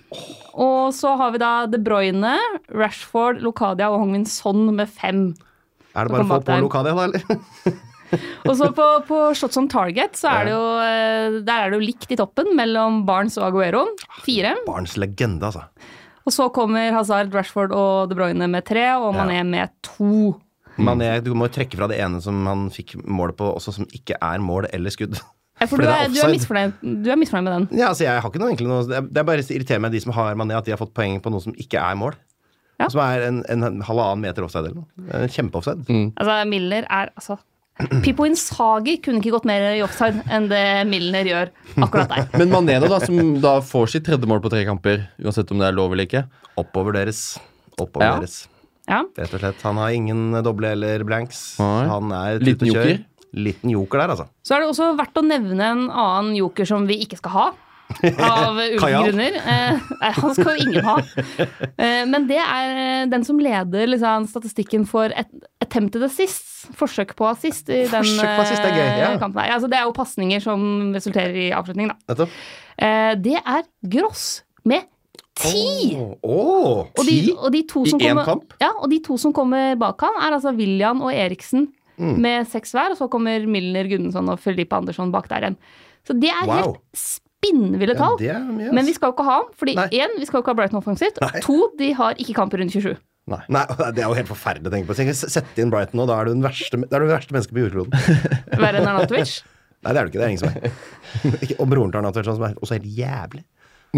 Og så har vi da De Bruyne, Rashford, Lokadia og Hongmin Son med fem.
Er det bare å få på
Kombatein.
Lokadia, da, eller?
Og så på, på shots on target, så er det jo, eh, der er det jo likt i toppen mellom Barnes og Aguero.
[laughs]
Fire.
Barnes legende, altså.
Og så kommer Hazard, Rashford og De Bruyne med tre, og Mané med to.
Mané, du må jo trekke fra det ene som han fikk mål på, også som ikke er mål eller skudd.
Ja, For
Fordi
du
det er
er, du, er
offside.
misfornøyd, du er misfornøyd med den.
Ja, altså jeg har ikke noe egentlig noe Det er- det er bare irriterer meg de som har Mané, at de har fått poeng på noe som ikke er mål.
Ja.
Som er en, en halvannen meter offside eller noe. En Kjempeoffside.
Mm.
Altså, Milner er altså Pippo Insagi kunne ikke gått mer i offside enn det Milner gjør akkurat der.
Men Mané, da, da, som da får sitt tredje mål på tre kamper, uansett om det er lov eller ikke.
Oppover deres. Oppover
Ja.
deres.
Ja.
Rett og slett. Han har ingen eh, doble eller blanks.
Nei.
Han er tut
Liten
og kjør.
joker.
Liten joker der, altså.
Så er det også verdt å nevne en annen joker som vi ikke skal ha.
[laughs]
Av ulike
Kajal.
grunner. Eh, nei, han skal jo ingen ha. Eh, men det er den som leder liksom, statistikken for et, attempted assists. Forsøk på assist i den
Forsøk på assist er gøy, ja.
eh, kampen her. Altså, det er jo pasninger som resulterer i avslutning, da.
Nettopp.
Eh, det er Gross med ti!
Åh, åh,
Og de,
ti?
og de to
I
som
én
kommer,
kamp?
Ja, og de to som kommer bak han, er altså William og Eriksen
Mm.
med seks hver. Og så kommer Milner, Gudmundsson og Felipe Andersson bak der igjen. Så det er
Wow.
helt spinnville
Ja,
tall.
det er mye, ass.
Men vi skal jo ikke ha ham, fordi
Nei.
én, vi skal jo ikke ha Brighton offensivt. og To, de har ikke kamper under 27.
Nei, [laughs] det er jo helt forferdelig å tenke på. Tenk, Sette inn Brighton nå, da er du den verste, da er du det verste mennesket på jordkloden.
Verre enn Arnatovic.
[laughs] Nei, det er du ikke. Det er ingen som er. [laughs] Ikke- Og broren til Arne Atterson, som er også helt jævlig.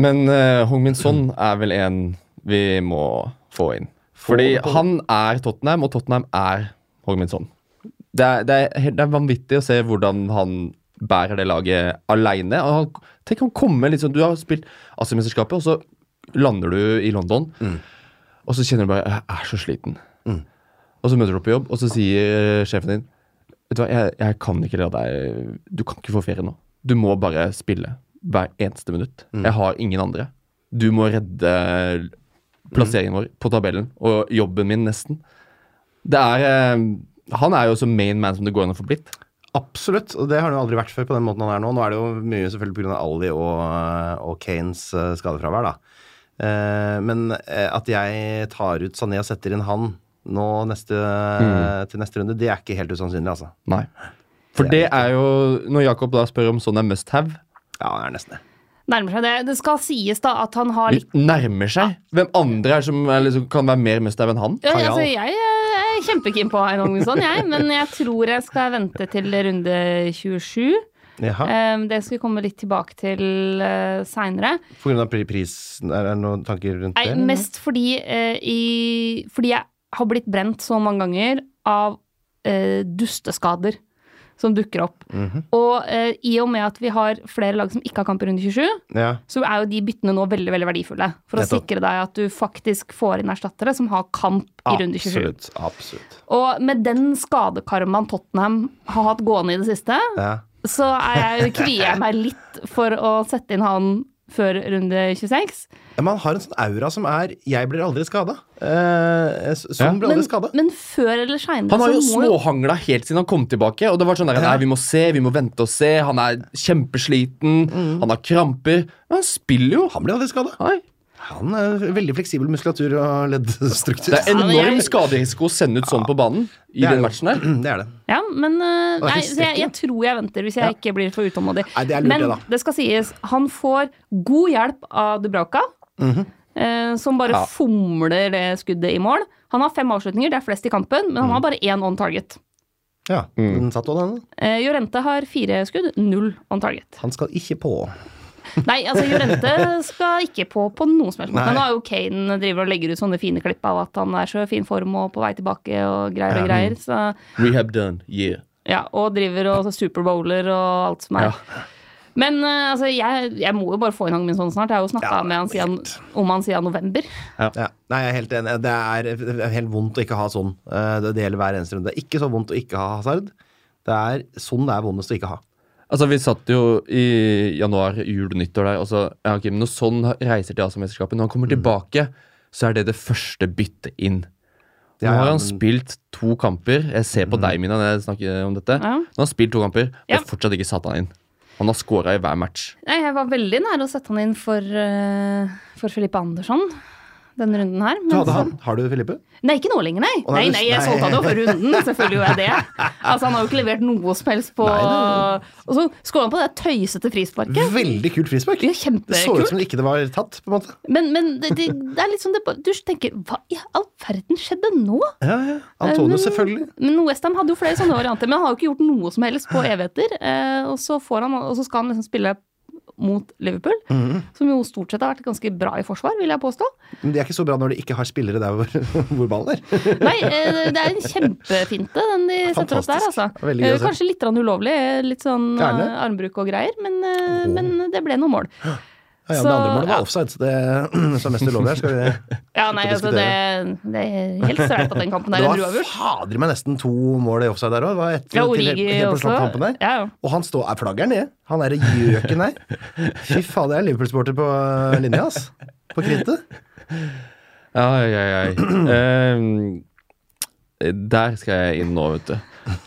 Men eh, Hong Min Son er vel en vi må få inn. Fordi
på-
han er Tottenham, og Tottenham er Hong Min Son. Det er, det, er, helt- det er vanvittig å se hvordan han bærer det laget aleine. Tenk han kommer litt sånn Du har spilt Asia-mesterskapet, og så lander du i London. Og så kjenner du bare Jeg er så sliten. Og så møter du opp på jobb, og så sier eh, sjefen din Vet du hva, jeg, jeg kan ikke la deg Du kan ikke få ferie nå. Du må bare spille hver eneste minutt. Jeg har ingen andre. Du må redde plasseringen vår på tabellen og jobben min, nesten. Det er eh, Han er jo så main man som det går an å få blitt.
Absolutt, og det har han jo aldri vært før på den måten han er nå. Nå er det jo mye selvfølgelig pga. Ali og, og Kanes eh, skadefravær, da. Eh, Men eh, at jeg tar ut Sané og setter inn han nå neste, til neste runde, det er ikke helt usannsynlig, altså.
Nei. For det er jo Når Jakob da spør om sånn er must have,
Ja, det er nesten det.
Nærmer seg det. Det skal sies da at han har litt
nærmer seg. Hvem andre er det som er liksom, kan være mer must have enn han?
ja,
Kajal.
altså, Jeg eh, er kjempekeen på Hein Ongensson, jeg. Men jeg tror jeg skal vente til runde 27.
Jaha.
Ehm, det skal vi komme litt tilbake til uh, seinere.
På grunn av pri- prisen, er det noen tanker rundt det? eller?
Mest fordi, eh, i, fordi jeg har blitt brent så mange ganger av eh, dusteskader som dukker opp.
Mhm.
Og eh, i og med at vi har flere lag som ikke har kamp i runde 27,
Ja.
så er jo de byttene nå veldig veldig verdifulle. For å
Nettopp.
sikre deg at du faktisk får inn erstattere som har kamp i runde 27.
Absolutt. Absolutt.
Og med den skadekarmaen Tottenham har hatt gående i det siste,
Ja.
så er jeg, kvier jeg meg litt for å sette inn han før runde 26.
Ja, Man har en sånn aura som er 'jeg blir aldri skada'. Eh, s- sånn
Ja.
blir
Men,
aldri skada.
men før eller seinere
Han har
så
jo
må jo
småhangla helt siden han kom tilbake. Og det var sånn der, nei, Vi må se, vi må vente og se. Han er kjempesliten,
Mm.
han har kramper. Men han spiller jo.
Han blir aldri skada.
Nei.
Han er veldig fleksibel muskulatur og leddstruktur.
Det er
Ja, men
enorm
jeg-
skaderisiko å sende ut sånn på banen i
Det er
den
jo-
matchen her.
Det er det.
Ja, men eh,
er
nei,
helt
så jeg, jeg tror jeg venter, hvis jeg ikke blir for utålmodig.
Nei, det er lurt,
men
det da.
det skal sies, han får god hjelp av Dubrauka,
Mhm.
eh, som bare
Ja.
fomler det skuddet i mål. Han har fem avslutninger, det er flest i kampen, men han
Mhm.
har bare én on target.
Ja,
Mm.
den satt også, den.
Eh, Jorente har fire skudd, null on target.
Han skal ikke på.
Nei, altså Jorente skal ikke på på noen som helst måte.
Nei.
Nå er jo Kane driver og legger ut sånne fine klipp av at han er så i fin form og på vei tilbake og greier og greier. Så
Rehab done, yeah.
Ja, og driver og superbowler og alt som er. Men eh, altså, jeg, jeg må jo bare få inn Hong Min Son snart. Jeg har jo snakka
Ja,
med han siden, om han siden november.
Ja. Nei, jeg er helt enig. Det er, det er helt vondt å ikke ha sånn. Eh, Det det gjelder hver eneste runde. Det er ikke så vondt å ikke ha hasard. Det er sånn det er vondest å ikke ha.
Altså, Vi satt jo i januar, jul, nyttår der. og så, ja, ok, men Når sånn reiser til Asiamesterskapet, når han
Mm.
kommer tilbake, så er det det første byttet inn.
Ja,
Nå har
ja,
han
men-
spilt to kamper. Jeg ser på deg, Mina, når jeg snakker om dette.
Mm. Ja.
Nå har han spilt to kamper, og
Ja.
fortsatt ikke satt han inn. Han har scora i hver match.
Nei, Jeg var veldig nær å sette han inn for, eh, for Felipe Andersson. denne runden her.
Du hadde
så-
han. Har du Filippe?
Nei, ikke nå lenger, nei.
Å,
Nei,
nei, du-
nei, jeg
nei.
solgte han jo før
[laughs]
runden. Selvfølgelig gjorde jeg det. Altså, Han har jo ikke levert noe som helst på
Nei,
Og så skåra han på det tøysete frisparket.
Veldig kult frispark.
Ja,
Det så ut
kjempekult.
som det ikke det var tatt, på en måte.
Men, men det, det, det er litt sånn det, bare- Du tenker hva i all verden skjedde nå?
Ja, ja. Antonio,
Eh, men-
selvfølgelig.
Men Westham hadde jo flere sånne varianter, men han har jo ikke gjort noe som helst på evigheter. Eh, og, så får han, og så skal han liksom spille mot Liverpool,
Mhm.
som jo stort sett har vært ganske bra i forsvar, vil jeg påstå.
Men de er ikke så bra når de ikke har spillere der hvor, [laughs] hvor ballen er.
Nei, eh, det er en kjempefinte, den de setter opp der,
Fantastisk.
altså.
Veldig gøy å
Eh,
se.
Kanskje litt grann ulovlig, eh, litt sånn eh,
Gjerne.
armbruk og greier, men, eh,
Åh.
men det ble noe mål.
Ja,
Så,
ja, det andre
ja.
målet var offside, så det [clears throat] som er mest ulovlig her. Skal vi
Ja, nei,
Slutt å
altså det, det er helt streit at den kampen
[laughs]
der
Det
er
var
uavgjort.
fader meg nesten to mål i offside der òg. Det var ett
Ja,
til helt,
Origi
helt på slutten av kampen
også.
der.
Ja, ja.
Og han står er flagger nede. Han derre gjøken der. Fy faen, det er Liverpool-sporter på eh, linja, ass. På krittet.
Ai, ai, [clears throat] ai. Ehm, der skal jeg inn nå, vet du.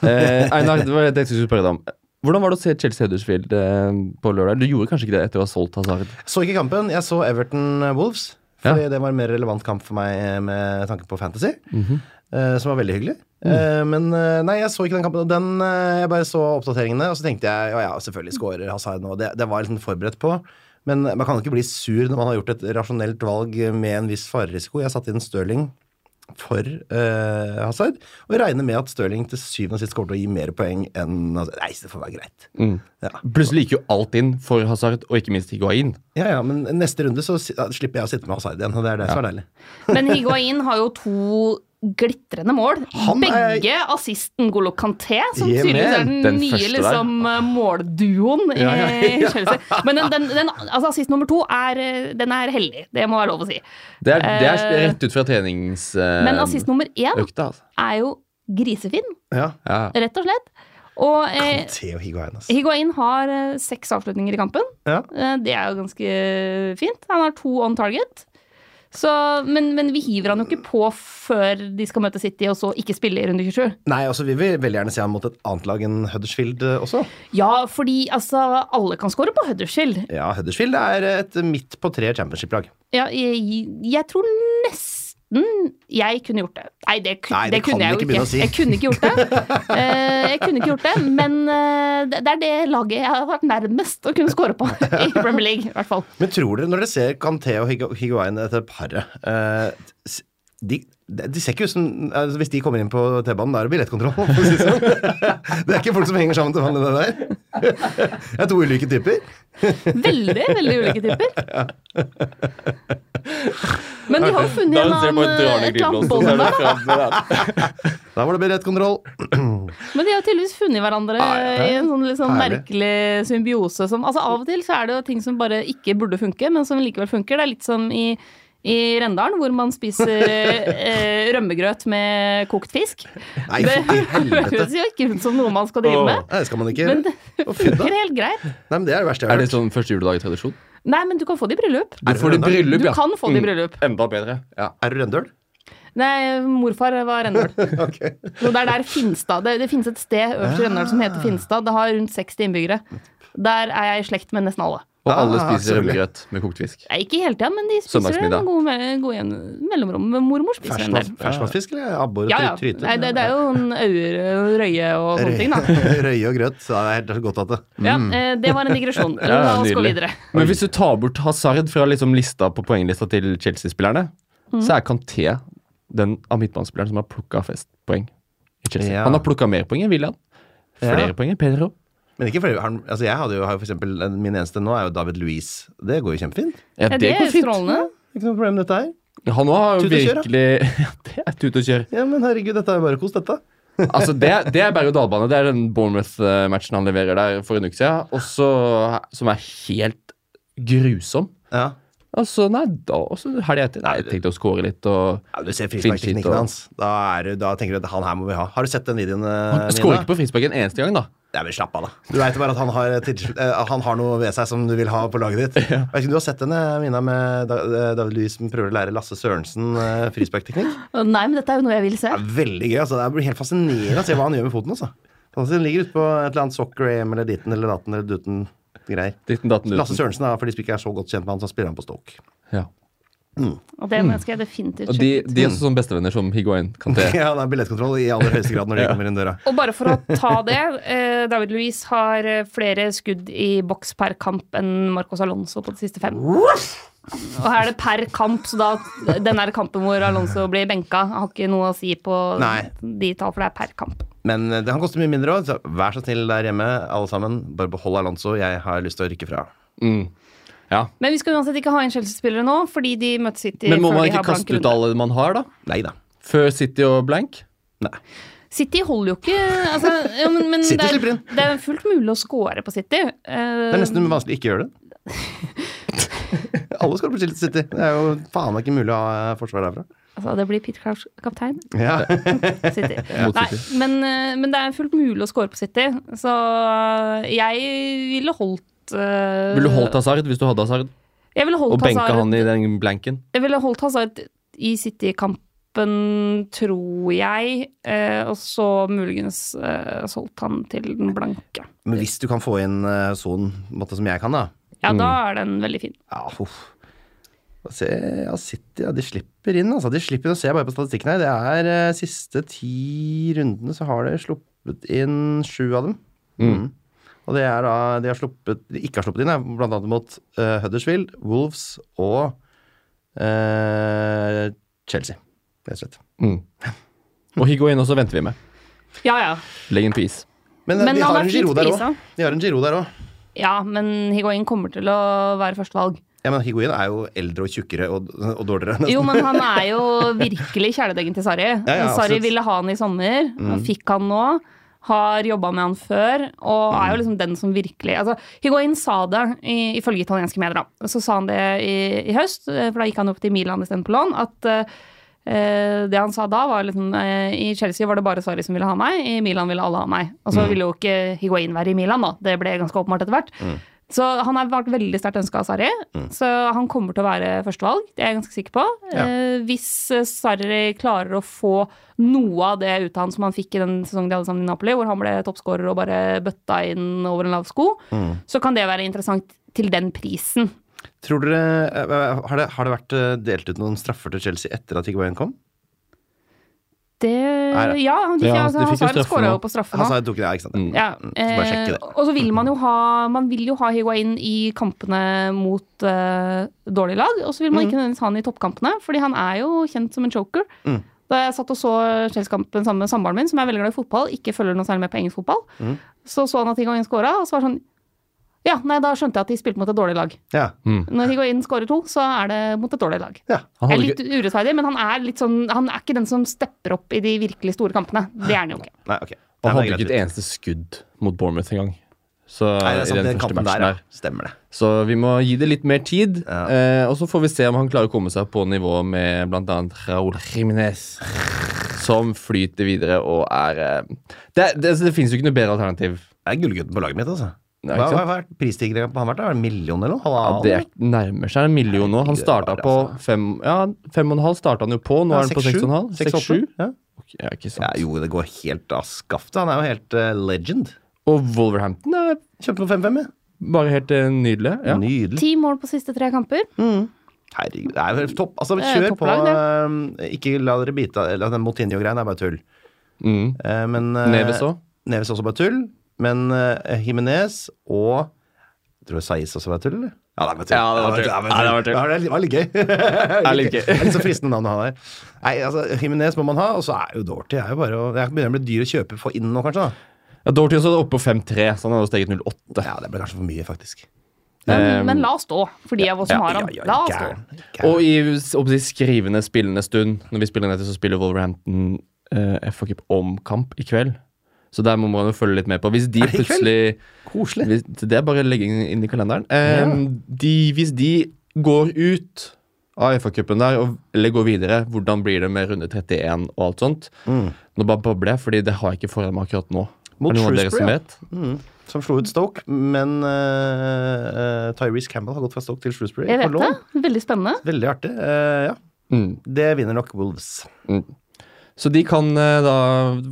Eh, Einar, det var det jeg skulle spørre deg om. Hvordan var det å se Chelsea Huddersfield eh, på lørdag? Du gjorde kanskje ikke det etter å ha solgt Hazard?
Så ikke kampen. Jeg så Everton eh, Wolves.
Ja.
Fordi det var en mer relevant kamp for meg eh, med tanke på fantasy. eh, som var veldig hyggelig. Eh, men eh, nei, jeg så ikke den kampen. og Den, eh, jeg bare så oppdateringene, og så tenkte jeg ja, ja, selvfølgelig scorer Hazard nå. Det, det var jeg liksom forberedt på. Men man kan jo ikke bli sur når man har gjort et rasjonelt valg med en viss farerisiko. Jeg satte inn Stirling for eh, Hazard, og regner med at Stirling til syvende og sist kommer til å gi mer poeng enn Hazard. Nei, så det får være greit. Ja.
Plutselig gikk jo alt inn for Hazard, og ikke minst Higuain.
Ja, ja, men neste runde så si- ja, slipper jeg å sitte med Hazard igjen, og det er det som er deilig.
Men Higuain har jo to glitrende mål.
Han er-
Begge assisten Golo Kanté, som
Yeah,
tydeligvis er
man.
den,
Den
nye
første der.
liksom, målduoen i
Ja, ja, ja.
[laughs] Chelsea. Men den, den, den, altså, assist nummer to er, eh, den er heldig, det må være lov å si.
Det er, det er
Eh,
rett ut fra treningsøkta.
Men assist nummer én
altså.
er jo grisefin,
Ja.
Ja.
rett og slett. Og eh,
Theo Higuain, altså. ass.
Higuain har eh, seks avslutninger i kampen.
Ja.
Eh, Det er jo ganske fint. Han har to on target. Så, men, men vi hiver han jo ikke på før de skal møte City, og så ikke spille i runde 27.
Nei, altså vi vil veldig gjerne se ham mot et annet lag enn Huddersfield eh, også.
Ja, fordi altså, alle kan score på Huddersfield.
Ja, Huddersfield er et midt på tre championship-lag.
Ja, jeg, jeg tror nesten jeg kunne gjort det. Nei, det, kun,
Nei, det kan
kunne jeg jo
du ikke begynne å si.
Jeg kunne ikke gjort
[laughs]
det. Eh, jeg kunne ikke gjort det, men eh, det, det er det laget jeg har vært nærmest å kunne score på [laughs] i Premier League, i hvert fall.
Men tror dere, når dere ser Kanté og Higu- Higuain, dette paret eh, s- de, de de ser ikke ut som altså, Hvis de kommer inn på T-banen, da er det billettkontroll. for å si det sånn. [laughs] Det er ikke folk som henger sammen til vanlig, det der. [laughs] Det er to ulike typer.
Veldig, veldig ulike typer. Men de har jo funnet
Da
en
ser jeg bare
annen, eh,
drar ned
et eller annet
glidelåsen,
bånd
så er det
der.
fram med den.
Da var det billettkontroll.
Men de har tydeligvis funnet hverandre i en sånn litt sånn
Herlig.
merkelig symbiose som Altså av og til så er det jo ting som bare ikke burde funke, men som likevel funker. Det er litt som i i Rendalen, hvor man spiser
[laughs]
eh, rømmegrøt med kokt fisk.
Nei, i
Det
helvete.
[laughs] høres jo ikke ut som noe man skal drive med.
Nei, det skal man ikke
Men
gjøre.
det
Å, fy da.
funker helt greit.
Nei, men det er det verste
[laughs]
jeg
Er
har
det
hørt.
sånn første juledag-tradisjon?
Nei, men du kan få det i bryllup.
Du får det i bryllup,
Du kan få det i bryllup.
Mm, Enda bedre. Ja.
Er du [laughs] rendøl?
Nei, morfar var Rendal. Så det er der Finstad Det, det finnes et sted øverst i Rendal som heter Finstad. Det har rundt 60 innbyggere. Der er jeg i slekt med nesten alle.
Og alle
Ah,
spiser
selvfølgelig.
rømmegrøt med kokt fisk.
Nei, ikke hele tida, men de spiser det
Søndagsmiddag.
med gode, med gode jevne- mellomrom. Men mormor spiser en del.
Ferskvannsfisk eller abbor
Sånn
og
Ja, ja.
try- tryte?
Nei, det, det er jo en aure og røye og sånne ting, da.
[laughs] Røye og grøt. Ja, det er helt godt at det
Ja, eh, det var en digresjon.
[laughs]
La oss gå
Mm. nydelig.
videre.
Men hvis du tar bort Hazard fra liksom lista på poenglista til Chelsea-spillerne, så er Kanté den av midtbanespilleren som har plukka flest poeng. i Chelsea.
Ja.
Han har plukka mer poeng enn William. Flere
Ja.
poeng enn Pedro.
Men ikke flere. han- Altså jeg hadde jo, har jo for eksempel, min eneste nå er jo David Louise. Det går jo kjempefint.
Ja,
Ja,
det, går
er
fint.
strålende.
Ikke noe problem med dette her.
Han òg har jo
Tut og kjør, da.
virkelig [laughs] Ja, det er tut og kjør.
Ja, men herregud, dette er jo bare kos, dette.
Altså, det, det er berg-og-dal-bane. Det er den Bournemouth-matchen han leverer der for en uke siden, og så- som er helt grusom.
Ja.
Altså, nei, da også helga etter. Nei, jeg tenkte å score litt og
ja du ser
Fint, fint,
frisparkteknikken
da.
hans. Da, er du, da tenker du at han her må vi ha. Har du sett den videoen, eh,
Han skårer ikke på frispark en eneste gang, da.
Nei, men slapp av, da. Du veit bare at han har, til- eh, han har noe ved seg som du vil ha på laget ditt. Jeg vet ikke om du har sett den, eh, Mina, med Da- eh, David Louise som prøver å lære Lasse Sørensen eh, frisparkteknikk? [laughs]
Nei, men dette er jo noe jeg vil se.
Det er veldig gøy. altså. Det blir helt fascinerende å se hva han gjør med foten. altså. Altså, Den ligger ute på et eller annet soccer AM eller ditten eller datten eller duten greier.
Ditten datten
Lasse
uten.
Sørensen, da, for de som ikke er så godt kjent med han, så spiller han på Stoke.
Ja.
Og det mennesket jeg definitivt
Mm. Og de,
sjekke ut.
de er også sånne bestevenner som Higuain Kanté.
[laughs] Ja, det er billettkontroll i aller høyeste [laughs] grad når de kommer inn døra.
Og bare for å ta det, eh, David Luiz har eh, flere skudd i boks per kamp enn Marcos Alonso på de siste fem. Og her er det per kamp, så da den der kampen hvor Alonso blir benka, har ikke noe å si på
Nei.
de tall, for det er per kamp.
Men eh, det kan koste mye mindre òg, så vær så snill der hjemme, alle sammen. Bare behold Alonso, jeg har lyst til å rykke fra.
Ja.
Men vi skal uansett ikke ha inn Chelsea-spillere nå, fordi de møtte City
Men må
før
man
de har
ikke
blank
kaste ut
runde.
alle man har, da?
Nei da.
Før City og blank?
Nei.
City holder jo ikke altså, ja, men, men
City
det,
slipper
er,
inn.
det er fullt mulig å score på City. Eh,
Det er nesten vanskelig å ikke gjøre det. [laughs] Alle skal på Chelsea City. Det er jo faen meg ikke mulig å ha forsvar derfra.
altså, det blir Pete Crouch kaptein.
Ja.
City.
[laughs] Mot
Nei,
City.
men, eh, men det er fullt mulig å score på City, så eh, jeg ville holdt eh,
Ville du holdt Hazard hvis du hadde Hazard?
Jeg ville
Og
holdt
benka
Hazard,
han i den blanken?
jeg ville holdt Hazard i City-kampen, tror jeg, eh, og så muligens eh, solgt han til den blanke.
Men hvis du kan få inn eh, sonen på en måte som jeg kan, da
Ja, da
Mm.
er den veldig fin.
Ja, huff. Da ser- Ja, City, ja, de slipper inn, altså. De slipper inn, og ser jeg bare på statistikken her. Det er eh, siste ti rundene så har de sluppet inn sju av dem. Mm. Og det er da de har sluppet, de ikke har sluppet inn, er blant annet mot eh, Huddersfield, Wolves og eh, Chelsea, rett og slett.
Og Higuain også venter vi med.
Ja, ja.
Legg den på is.
Men, eh,
Men
de,
han
har
er
en
fint
Giroud der
prisa.
også. de har en Giro der òg.
Ja, men Higuain kommer til å være førstevalg.
Ja, men Higuain er jo eldre og tjukkere og, og dårligere. [laughs]
Jo, men han er jo virkelig kjæledeggen til Sarri.
ja,
Sarri
absolutt. Mm.
ville ha han i sommer, han fikk han nå. Har jobba med han før, og
Mm.
er jo liksom den som virkelig altså, Higuain sa det, i- ifølge italienske medier, da. Så sa han det i, i høst, eh, for da gikk han opp til Milan istedenfor lån, at eh, eh, det han sa da, var liksom eh, I Chelsea var det bare Sarri som ville ha meg, i Milan ville alle ha meg. Og
Mm.
så ville jo ikke Higuain være i Milan, da. Det ble ganske åpenbart etter hvert.
Mm.
Så han har vært veldig sterkt ønska av Sarri, så han kommer til å være førstevalg. Det er jeg ganske sikker på.
Ja.
Eh, hvis eh, Sarri klarer å få noe av det ut av han som han fikk i den sesongen de hadde sammen i Napoli, hvor han ble toppskårer og bare bøtta inn over en lav sko, så kan det være interessant til den prisen.
Tror dere, eh, har det, har det vært eh, delt ut noen straffer til Chelsea etter at Higuain kom?
Det
Nei, det-
Ja, han fikk,
Ja,
altså,
de fikk jo
Hazard
straffe
skåra
nå.
jo på straffe nå.
Han sa Altså, jeg tok det, ja, ikke sant?
Mm.
Ja, eh,
bare sjekke det.
og så vil man jo ha Man vil jo ha Higuain i kampene mot eh, dårlige lag, og så vil man ikke nødvendigvis ha han i toppkampene, fordi han er jo kjent som en choker.
Mm.
Da jeg satt og så Chelsea-kampen sammen med samboeren min, som er veldig glad i fotball, ikke følger noe særlig med på engelsk fotball,
Mm.
så så han at Higuain scora, og så var det sånn Ja, nei, da skjønte jeg at de spilte mot et dårlig lag.
Ja.
Når Higuain scorer to, så er det mot et dårlig lag.
ja.
Han
Det er
hadde
litt
ikke,
urettferdig, men han er litt sånn Han er ikke den som stepper opp i de virkelig store kampene. Det er han jo ikke.
Nei, ok.
han
Nei,
hadde
det er
ikke et
greit.
eneste skudd mot Bournemouth engang. Så,
Nei, det er
i
sant,
den
den
første
kampen
matchen
der, ja.
der.
Stemmer det.
Så vi må gi det litt mer tid.
Ja.
Eh, og så får vi se om han klarer å komme seg på nivå med bl.a. Raúl Jiménez. Som flyter videre og er eh, Det, det, det finnes jo ikke noe bedre alternativ.
Det er gullgutten på laget mitt, altså.
Ja,
Hva
ikke sant?
hva har prisstigningen på han vært? da? Er det En million eller noe?
Ja,
Halvannen?
det er, nærmer seg en million nå. Han
Herregud,
starta
bare,
på
altså.
fem, ja, fem og en halv starta han jo på. Nå
Ja,
er han på
seks,
seks og en halv.
sju. Seks,
Seks, sju.
åtte. Ja.
Ok, Ja, ikke
Ja,
sant.
jo, det går helt av skaftet. Han er jo helt eh, legend.
Og Wolverhampton er
Kjøpte på 5-5, ja.
bare helt eh, nydelig. Ja.
Nydelig.
Ti mål på siste tre kamper.
Herregud, det er jo topp. Altså,
Det er
kjør på.
topplag,
eh, ikke la dere bite av eller Den Motinho-greien er bare tull.
Mm.
Eh, men, eh,
Neves òg.
Neves også bare tull. Men eh, Jimenez og Tror du Saiz også var tull, eller? Ja, det var tull.
Ja, det var tull. Ja, det var tull.
Ja, det var
[laughs]
litt gøy.
er litt gøy.
[laughs] Det er litt så fristende navn å ha der. Nei, altså, Jimenez må man ha, og så er jo Dorty er jo bare å Jeg begynner å bli dyr å kjøpe for inn nå, kanskje. da.
Ja, Dorthin er oppe på 5-3, så han har jo steget 0-8.
Ja, det ble kanskje for mye, faktisk.
Men,
Eh,
men la oss stå, for de av oss som har ham.
Ehm, Ja, ja,
La oss stå.
gæren, gæren.
Og i om de skrivende, spillende stund, når vi spiller nettet, så spiller Wolverhampton eh, FA Cup omkamp i kveld. Så der må man jo følge litt med på. Hvis de
det i kveld?
plutselig [laughs]
Koselig.
hvis, Det er bare å legge inn, inn i kalenderen. Eh,
Ja.
de, hvis de går ut av FA-cupen der, og, eller går videre, hvordan blir det med runde 31 og alt sånt? Nå bare babler jeg, fordi det har jeg ikke foran meg akkurat nå.
Mm. Mot
er det noen av dere
Shrewsbury,
som
ja.
vet?
Som slo ut Stoke, men eh, eh, Tyrese Campbell har gått fra Stoke til Shrewsbury.
Jeg
på
vet det.
lån.
Veldig spennende.
Veldig artig. eh, ja.
Mm.
Det vinner nok Wolves.
Så de kan eh, da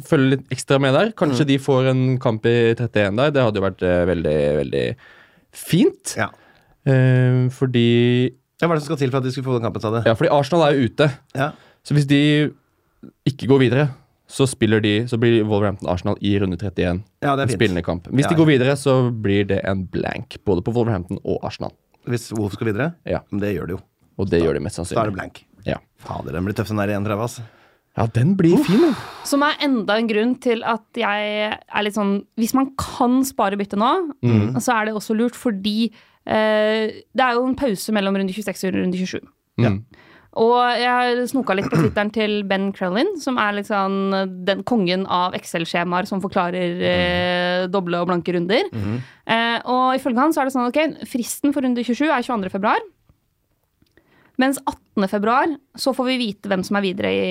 følge litt ekstra med der.
Mm.
Kanskje de får en kamp i 31 der. Det hadde jo vært eh, veldig, veldig fint.
Ja.
Eh, fordi
Ja, Hva er det som skal til for at de skulle få den kampen, sa du?
Ja, fordi Arsenal er jo ute.
Ja.
Så hvis de ikke går videre, så, spiller de, så blir Wolverhampton Arsenal i runde 31.
Ja, det
En
er fint.
spillende kamp. Hvis de
Ja.
går videre, så blir det en blank både på Wolverhampton og Arsenal.
Hvis Wolf skal videre?
Ja.
Men det gjør det jo.
Og det gjør de mest
Da er det
sannsynlig.
blank.
Ja.
Fader, den blir tøff, den der 31, altså.
ja, den blir fin, den.
Som er enda en grunn til at jeg er litt sånn Hvis man kan spare bytte nå,
Mm.
så er det også lurt, fordi eh, det er jo en pause mellom runde 26 og runde 27.
Ja.
Og jeg snoka litt på Twitteren til Ben Crellin, som er litt sånn den kongen av Excel-skjemaer som forklarer eh, doble og blanke runder.
Mhm.
eh, og ifølge han så er det sånn ok, fristen for runde 27 er 22. februar. Mens 18. februar så får vi vite hvem som er videre i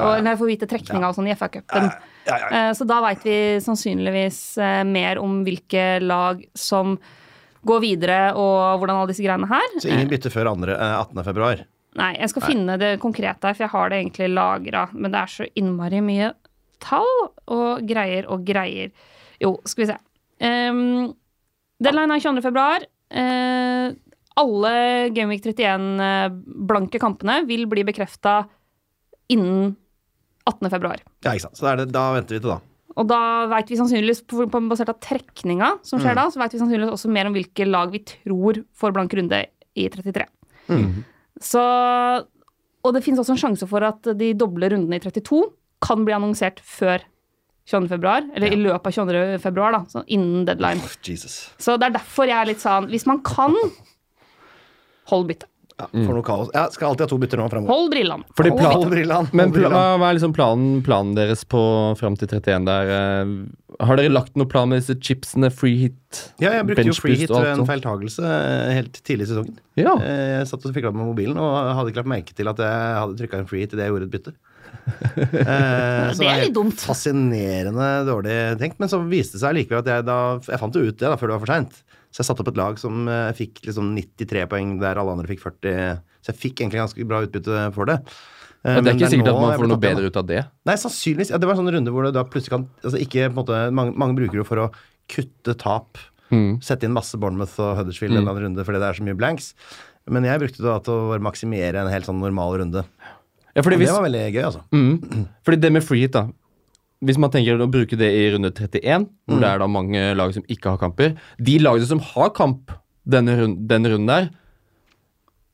og, Nei, får vite trekninga og sånn i FA-cupen.
Ja, ja,
Eh, Så da veit vi sannsynligvis eh, mer om hvilke lag som går videre, og hvordan alle disse greiene her.
Så ingen bytter før andre, eh, 18. februar.
Nei, jeg skal finne det konkret der, for jeg har det egentlig lagra. Men det er så innmari mye tall og greier og greier. Jo, skal vi se. Ehm, deadline er 22. februar. Eh, alle Gameweek 31-blanke eh, kampene vil bli bekrefta innen 18. februar.
Ja, ikke sant. Så da, er det, da venter vi til da.
Og da veit vi sannsynligvis, på- på- basert av trekninga som skjer
Mm.
da, så veit vi sannsynligvis også mer om hvilke lag vi tror får blank runde i 33.
Mm.
Så Og det finnes også en sjanse for at de doble rundene i 32 kan bli annonsert før 22. februar, eller i løpet av 22. februar, da, så innen deadline.
Pff, Jesus.
Så det er derfor jeg er litt sånn Hvis man kan, hold byttet.
Ja, for noe kaos. Jeg skal alltid ha to bytter nå fremover.
Hold brillene.
Mm. Fordi
Hold
plan-
byttet.
Hold brillene.
Men
Hold
pla
brillene.
hva er liksom planen, planen deres på fram til 31 der? eh, har dere lagt noen plan med disse chipsene, free hit,
Ja, jeg brukte jo
bench
free
boost
hit
og
ved
alt
en
sånt?
feiltagelse eh, helt tidlig i sesongen.
Ja.
Eh, Jeg satt og fikla med mobilen og hadde ikke lagt merke til at jeg hadde trykka en free hit idet jeg gjorde et
[laughs]
bytte. Eh, så
Det er
helt
litt dumt.
Fascinerende dårlig tenkt, men så viste det seg likevel at jeg da Jeg fant jo ut det da, før det var for seint. Så jeg satte opp et lag som eh, fikk liksom 93 poeng der alle andre fikk 40. Så jeg fikk egentlig ganske bra utbytte for det. Eh,
Ja, det
men
er ikke sikkert
nå
at man
jeg
får
blir
noe
tatt igjen, da.
bedre ut av det.
Nei, sannsynligvis. Ja, det var en sånn runde hvor det da plutselig kan altså ikke, på en måte, mange, mange bruker det for å kutte tap.
Mm.
Sette inn masse Bournemouth og Huddersfield en eller annen runde fordi det er så mye blanks. Men jeg brukte det da til å bare maksimere en helt sånn normal runde.
Ja, fordi
Og
hvis, Mm.
det var veldig gøy, altså.
Fordi det med free hit, da. Hvis man tenker å bruke det i runde 31, hvor
Mm.
det er da mange lag som ikke har kamper De lagene som har kamp denne, rund, denne runden der,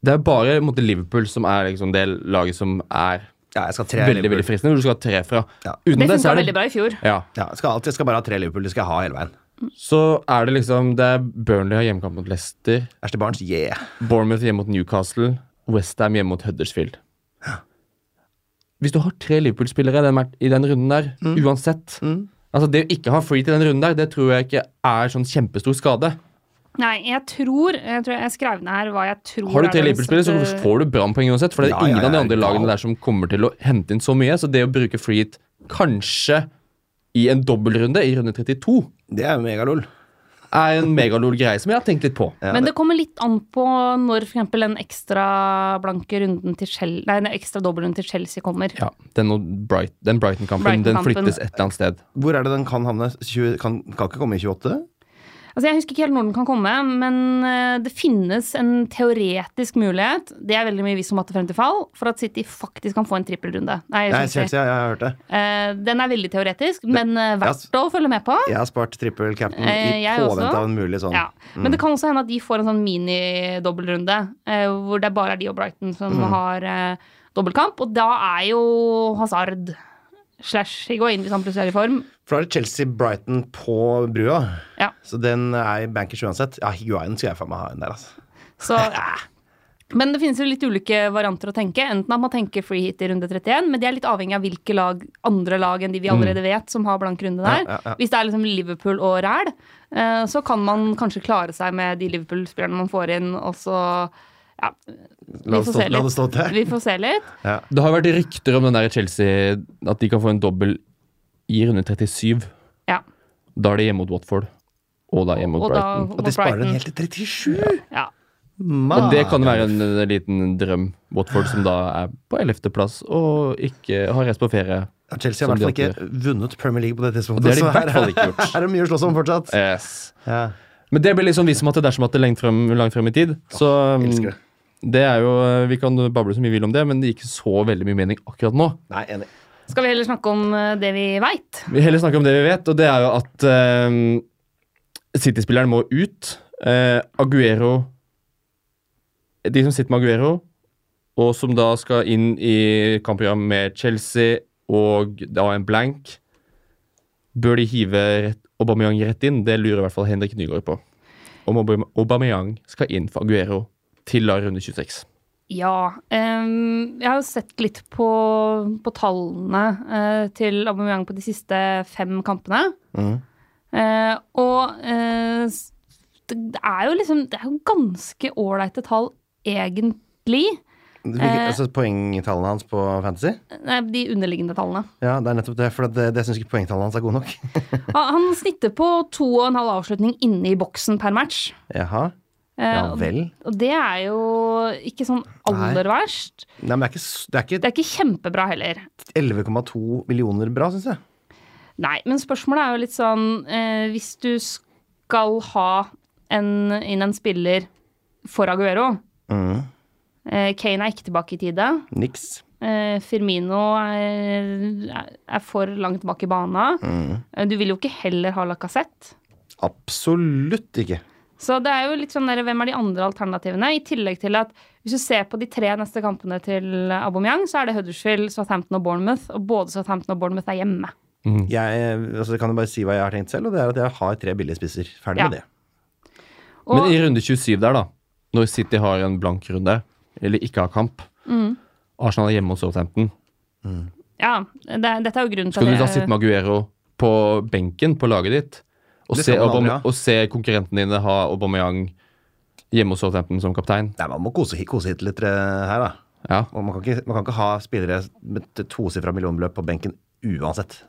det er bare på en måte, Liverpool som er liksom, det laget som er
Ja, jeg skal ha tre
veldig
Liverpool.
veldig fristende, hvor du skal ha tre fra.
Ja.
Uten det,
Det
så
funka
er
veldig
det
bra i fjor.
ja,
Ja, jeg skal, alltid, jeg skal bare ha tre Liverpool. De skal jeg ha hele veien.
Så er det liksom Det er Burnley har hjemmekamp mot Leicester,
Ashton Barnes, yeah.
Bournemouth hjemme mot Newcastle, Westham hjemme mot Huddersfield. Hvis du har tre Liverpool-spillere i den mat- i den runden der, uansett Altså Det å ikke ha free til den runden der, det tror jeg ikke er sånn kjempestor skade.
Nei, jeg tror Jeg, tror jeg skrev ned her hva jeg tror
Har du
er
tre
den
Liverpool-spillere, så
største-
får du Brann-poeng uansett. For det er
Ja, ja,
ingen av de
ja,
andre
ja.
lagene der som kommer til å hente inn så mye. Så det å bruke free hit kanskje i en dobbeltrunde, i runde 32,
Det er jo megalol.
er en megalol greie som jeg har tenkt litt på.
Ja,
Men det kommer litt an på når f.eks. den ekstra blanke runden til Chelsea Nei, den ekstra dobbeltrunden til Chelsea kommer.
Ja, Den, og Bright, den Brighton-kampen den
Brighton-kampen.
flyttes et eller annet sted.
Hvor er det den kan havne? 20, kan, kan ikke komme i 28?
Altså, Jeg husker ikke helt når den kan komme, men eh, det finnes en teoretisk mulighet, det er veldig mye visst om at det frem til fall, for at City faktisk kan få en trippelrunde. Nei,
Nei,
Chelsea.
Chelsea, jeg har hørt det.
Eh, den er veldig teoretisk, men eh, verdt å følge med på.
Jeg har spart trippel cap'n
Eh,
i
jeg
påvente
også.
av en mulig sånn.
Ja. Men det kan også hende at de får en sånn mini-dobbeltrunde, eh, hvor det bare er de og Brighton som
Mm.
har eh, dobbeltkamp. Og da er jo Hazard slash Higuain, hvis han plutselig er i form.
For da er det Chelsea-Brighton på brua.
Ja.
Så den er i bankers uansett. Ja, Higuain skal jeg faen meg ha inn der, altså.
Så, ja. [laughs] Men det finnes jo litt ulike varianter å tenke. Enten at man tenker free hit i runde 31, men det er litt avhengig av hvilke lag, andre lag enn de vi allerede vet, som har blank runde der.
Mm. Ja, ja, ja.
Hvis det er liksom Liverpool og ræl, eh, så kan man kanskje klare seg med de Liverpool-spillerne man får inn, og så ja, vi
La det
får
stå,
se
la det
litt.
stå til.
Vi får se litt.
Det har vært rykter om den der Chelsea at de kan få en dobbel i runde 37.
Ja.
Da er det hjemme mot Watford, og da hjemme mot
Og da
Brighton.
Og
mot
de sparer den
Brighton.
helt til 37!
Ja.
Og
Man.
det kan være en eh, liten drøm. Watford som da er på 11.-plass og ikke har reist på ferie.
Ja, Chelsea har i
som
hvert
de
fall ikke vunnet Premier League på det
Og
tidspunktet.
det har de i
så her
hvert fall ikke gjort.
er det mye å slåss om fortsatt.
Yes.
Ja.
sånn Men det blir liksom visst om at det dersom at det er lengt frem, langt frem i tid, så
elsker det.
Det er jo, eh, Vi kan bable så mye vi vil om det, men det gir ikke så veldig mye mening akkurat nå.
Nei, enig.
Skal vi heller snakke om eh, det vi veit?
Vi heller snakker om det vi vet, og det er jo at eh, City-spilleren må ut. Eh, Aguero De som sitter med Aguero, og som da skal inn i kampprogram med Chelsea og da en blank Bør de hive rett, Aubameyang rett inn? Det lurer i hvert fall Henrik Nygaard på. Om Aubame- Aubameyang skal inn for Aguero til da runde 26.
Ja. ehm, jeg har jo sett litt på, på tallene eh, til Aubameyang på de siste fem kampene. Eh, og eh, s- det det er jo liksom Det er jo ganske ålreite tall, egentlig.
Hvilke,
Eh.
altså Poengtallene hans på Fantasy?
Nei, de underliggende tallene.
Ja, det er nettopp det. For at det, det syns ikke poengtallene hans er gode nok. [laughs]
Han han snitter på to og en halv avslutning inne i boksen per match.
Jaha.
Eh,
Ja vel.
Og det er jo ikke sånn aller verst.
Nei, men det er ikke, s- det er
Det
ikke
er ikke kjempebra heller.
11,2 millioner bra, syns jeg.
Nei, men spørsmålet er jo litt sånn eh, Hvis du skal ha en, inn en spiller for Aguero
Mm.
eh, Kane er ikke tilbake i tide.
Niks.
Eh, Firmino er, er for langt bak i bana.
Mm.
Eh, Du vil jo ikke heller ha Lacassette.
Absolutt ikke.
Så det er jo litt sånn der, hvem er de andre alternativene? I tillegg til at hvis du ser på de tre neste kampene til Aubameyang, så er det Huddersfield, Southampton og Bournemouth. Og både Southampton og Bournemouth er hjemme.
Jeg eh, altså, jeg kan jo bare si hva jeg har tenkt selv, og det er at jeg har tre billige spisser. Ferdig
Ja.
med det.
Og,
Men i runde 27 der, da, når City har en blank runde, eller ikke har kamp
Mm.
Arsenal er hjemme hos Southampton.
ja, det, dette er jo grunnen
Skal
til
du da sitte med Aguero på benken på laget ditt, og,
Det
se,
skal man aldri
Aubame
ha.
og se konkurrentene dine ha Aubameyang hjemme hos Southampton som kaptein?
Nei, Man må kose, kose hit litt eh, her, da.
Ja.
Og Man kan ikke, man kan ikke ha spillere med et tosifra millionbeløp på benken uansett.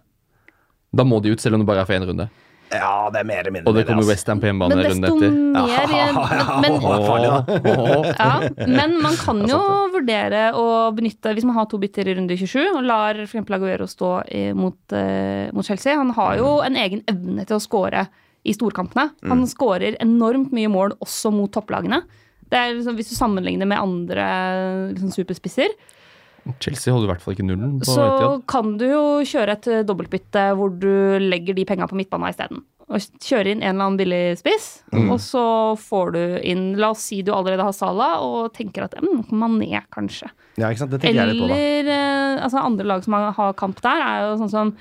Da må de ut, selv om det bare er for én runde.
Ja, det er mer eller mindre
Og det
det,
kommer
altså.
Westham på
Men
hjemmebane runde
desto
etter.
mer men,
Ja, farlig, da.
Åh, åh.
ja, men man kan jo vurdere å benytte Hvis man har to bytter i runde 27 og lar f.eks. Aguero stå i, mot, eh, mot Chelsea Han har jo en egen evne til å score i storkampene. Han skårer enormt mye mål også mot topplagene. Det er liksom, hvis du sammenligner med andre liksom, superspisser,
Chelsea holder i hvert fall ikke nullen. på
så
Etihad.
kan du jo kjøre et eh, dobbeltbytte hvor du legger de penga på midtbanen isteden. Og kjøre inn en eller annen billig spiss,
Mm.
og så får du inn La oss si du allerede har Sala og tenker at mm, Mané, kanskje.
Ja, ikke sant? Det tenker jeg litt på, da.
Eller eh, altså andre lag som har- har kamp der, er jo sånn som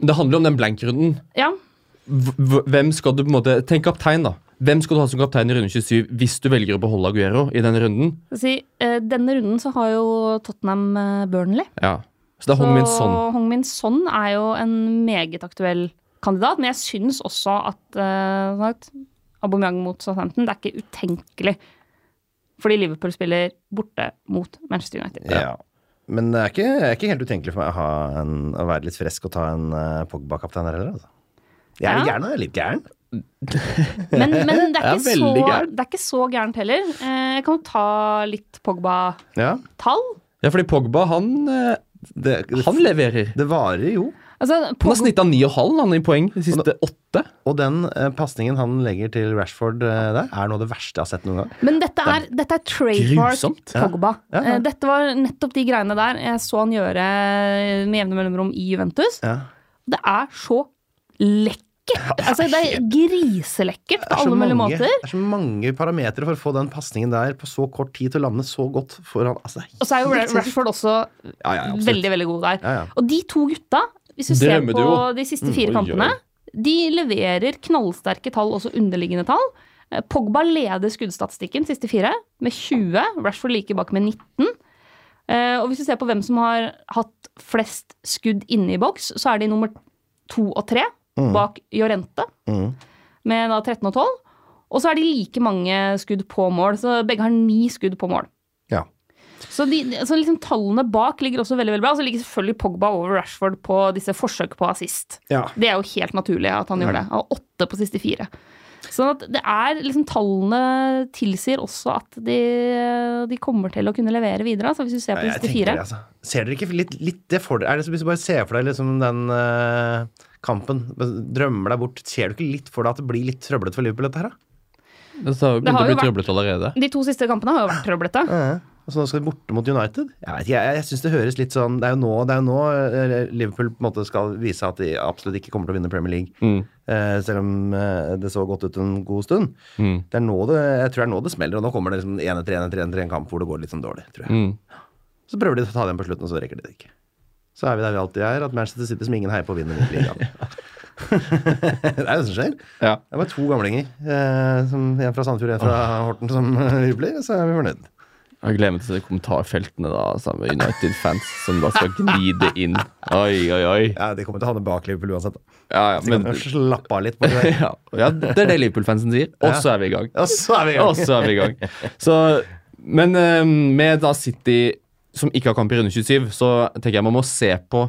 Det handler om den blank-runden.
Ja,
Hv- hv- Hvem skal du på en måte Tenk kaptein, da. Hvem skal du ha som kaptein i runde 27 hvis du velger å beholde Aguero i den runden?
skal vi si, eh, denne runden så har jo Tottenham eh, Burnley.
Ja. Så det er Hong Min Son.
Så Hong Min Son er jo en meget aktuell kandidat, men jeg syns også at eh, som sagt, Aubameyang mot Southampton, det er ikke utenkelig. Fordi Liverpool spiller borte mot Manchester United.
[laughs]
Ja. Men det er ikke, det er ikke helt utenkelig for meg å, ha en, å være litt frisk og ta en eh, Pogba-kaptein her heller, altså. Jeg er litt
Ja.
gæren, og jeg er litt gæren.
Men, men det,
Jeg
er
er
ikke så,
veldig gæren.
det er ikke så gærent heller. Eh, Jeg kan jo ta litt Pogba-tall.
Ja.
Ja, fordi Pogba, han, eh,
Det, det,
han leverer.
det varer jo.
Altså,
Han har
Pogba,
snittet 9,5 han, i poeng de siste åtte.
Og den eh, pasningen han legger til Rashford eh, der, er noe av det verste jeg har sett noen gang.
men dette er, dette er trademark
Grusomt.
Pogba.
Ja, ja.
Eh, Dette var nettopp de greiene der jeg så han gjøre med jevne mellomrom i Juventus.
Ja.
Det er så lekkert! Altså, det er griselekkert på alle mulige
mange, det
måter.
er så mange parametere for å få den pasningen der på så kort tid til å lande så godt foran altså, det er
Og så er jo
helt
Ra-
sinnssykt.
Rashford også
Ja, ja, absolutt.
veldig, veldig god der.
Ja, ja.
Og de to gutta, hvis du ser på
Drømmeduo.
de siste fire
Mm, oi,
kampene,
oi.
de leverer knallsterke tall, også underliggende tall. Eh, Pogba leder skuddstatistikken siste fire med 20. Rashford like bak med 19. Eh, Og hvis du ser på hvem som har hatt flest skudd inne i boks, så er de nummer to og tre bak Jorente
Mm.
med da 13 og 12. Og så er de like mange skudd på mål, så begge har ni skudd på mål.
Ja.
Så, de, så liksom tallene bak ligger også veldig veldig bra. Og så ligger selvfølgelig Pogba over Rashford på disse forsøk på assist.
Ja.
Det er jo helt naturlig at han gjør det. Han har åtte på siste fire. Sånn at det er liksom Tallene tilsier også at de, de kommer til å kunne levere videre. Altså hvis du ser på
Ja, jeg
siste
tenker
fire.
det, altså. Ser dere ikke litt, litt det for dere? Er det så, hvis du bare ser for deg liksom den eh, kampen, drømmer deg bort, ser du ikke litt for deg at det blir litt trøblete for Liverpool, dette her? da?
Det har
Det
begynt
har
å
jo
bli trøblete allerede.
De to siste kampene har jo vært trøblete.
Ja, Og så skal de borte mot United? Jeg vet ikke, jeg, jeg synes det høres litt sånn Det er jo nå, det er jo nå eh, Liverpool på en måte skal vise at de absolutt ikke kommer til å vinne Premier League. Eh, selv om eh, det så godt ut en god stund. Det er nå det, jeg tror det er nå det smeller, og nå kommer det liksom en etter en etter en etter en kamp hvor det går litt sånn dårlig. tror jeg. Så prøver de å ta den på slutten, og så rekker de det ikke. Så er vi der vi alltid er, at Manchester City som ingen heier på, vinner ligaen. [laughs] det er jo det som skjer.
Ja.
Det er bare to gamlinger, eh, som, en fra Sandefjord og en fra Horten, som [laughs] eh, jubler, så er vi fornøyd.
Jeg gleder meg til å se kommentarfeltene da, sammen med United-fans som da skal gnide inn. Oi, oi, oi.
Ja, De kommer til å havne bak Liverpool uansett. da.
Ja, ja,
Så de
men,
kan jo slappe av litt. på det.
[laughs] ja, ja, det er det Liverpool-fansen sier. Og så er vi i gang.
Og så er vi i
Og
gang.
så er vi i gang. Så, men eh, med da City som ikke har kamp i runde 27, så tenker jeg man må se på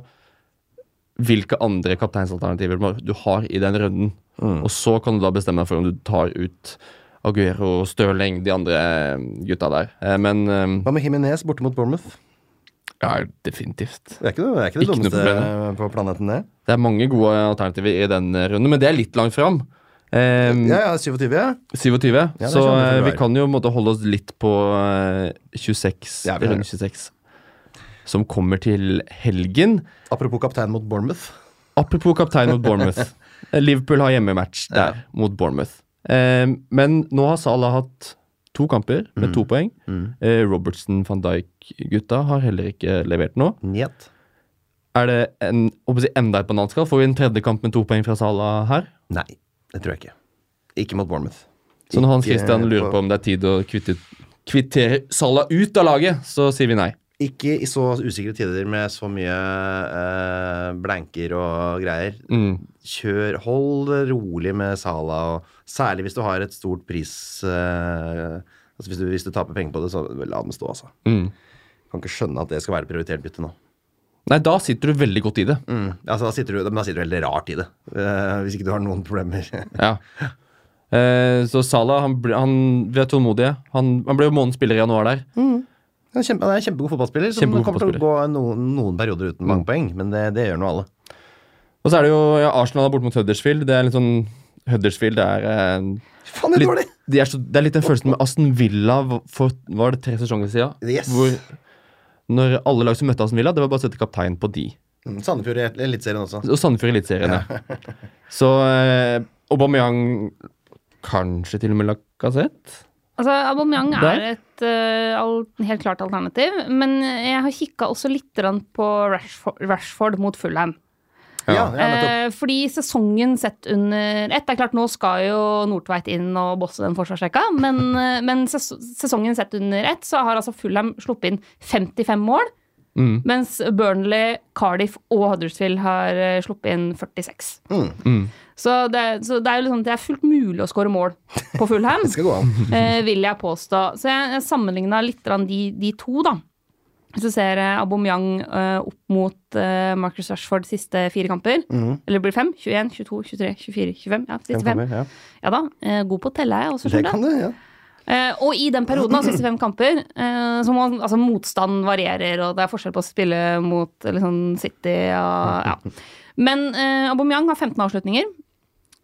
hvilke andre kapteinsalternativer du har i den runden. Og så kan du da bestemme deg for om du tar ut Aguero, Stirling, de andre eh, gutta der. Eh, Men eh,
Hva med Jimenez borte mot Bournemouth?
ja, definitivt.
Det er ikke det, det, er ikke det
Ikke noe
dummeste
problem.
på planeten, det.
Det er mange gode alternativer i den runden, men det er litt langt fram. Eh,
Ja, ja, 27, ja.
27,
det er
så
sånn det
eh,
bør
vi
være.
kan jo på en måte holde oss litt på eh, 26,
Ja, vi gjør
runde 26, som kommer til helgen.
Apropos kaptein mot Bournemouth.
Apropos kaptein mot
[laughs]
Bournemouth. Eh, Liverpool har hjemmematch der mot Bournemouth. Eh, men nå har Salah hatt to kamper
Mm.
med to poeng. Eh, Robertson, van Dijk-gutta har heller ikke levert noe.
Njet.
Er det en, håper jeg å si, enda et bananskall? Får vi en tredje kamp med to poeng fra Salah her?
Nei, det tror jeg ikke. Ikke mot Bournemouth.
Så når Hans
Ikke
Christian lurer
på-
på om det er tid å kvitte, kvittere Salah ut av laget, så sier vi nei.
Ikke i så usikre tider med så mye eh, blanker og greier. Kjør, hold det rolig med Sala, og særlig hvis du har et stort pris eh, altså hvis, du, hvis du taper penger på det, så la den stå, altså. Kan ikke skjønne at det skal være prioritert bytte nå.
Nei, da sitter du veldig godt i det.
Mm. Altså, da, sitter du, men da sitter du veldig rart i det, eh, hvis ikke du har noen problemer. [laughs]
Ja. [laughs] Eh, så Salah, han, ble- han vi er tålmodige. Han, han ble jo månedens spiller i januar der.
Mm. Han er, kjempe, han er en kjempegod fotballspiller, Mm. som
Kjempegod
kommer til å gå noen, noen perioder uten mange poeng, men det, det gjør nå alle.
Og så er det jo ja, Arsenal er borte mot Huddersfield. Det er litt sånn Huddersfield det er eh,
Faen, det er dårlig!
litt, de er så, Det er litt den følelsen med Aston Villa v- for var det tre sesonger siden.
Yes.
Hvor når alle lag som møtte Aston Villa, det var bare å sette kaptein på de.
Mm, Sandefjord i el- Eliteserien også.
Og Sandefjord i Eliteserien, ja. Så eh, Aubameyang Kanskje til og med Lacassette?
Altså, Aubameyang er
Der.
et eh, al helt klart alternativ, men jeg har kikka også litt grann på Rashford, Rashford mot Fulham.
Ja, ja, nettopp.
Eh, fordi sesongen sett under ett Det er klart, nå skal jo Nordtveit inn og bosse den forsvarsrekka, men, eh, men ses sesongen sett under ett så har altså Fulham sluppet inn 55 mål,
Mm.
mens Burnley, Cardiff og Huddersfield har eh, sluppet inn 46.
Mm.
Så, det, så det er jo liksom, det er fullt mulig å skåre mål på Fulham,
[laughs] Det skal gå an.
eh, vil jeg påstå. Så jeg, jeg sammenligna litt grann de, de to, da. Hvis du ser eh, Aubameyang eh, opp mot eh, Marcus Rashford siste fire kamper,
Mhm.
eller blir det fem? 21, 22, 23, 24, 25. Ja,
Fem
siste fem.
kamper, ja.
Ja da. Eh, god på å telle, jeg også,
Det
skjønner du.
kan det, ja.
Eh, og i den perioden av siste fem kamper, eh, så må altså motstand varierer, og det er forskjell på å spille mot eller sånn City og
[laughs]
ja. Men eh, Aubameyang har 15 avslutninger.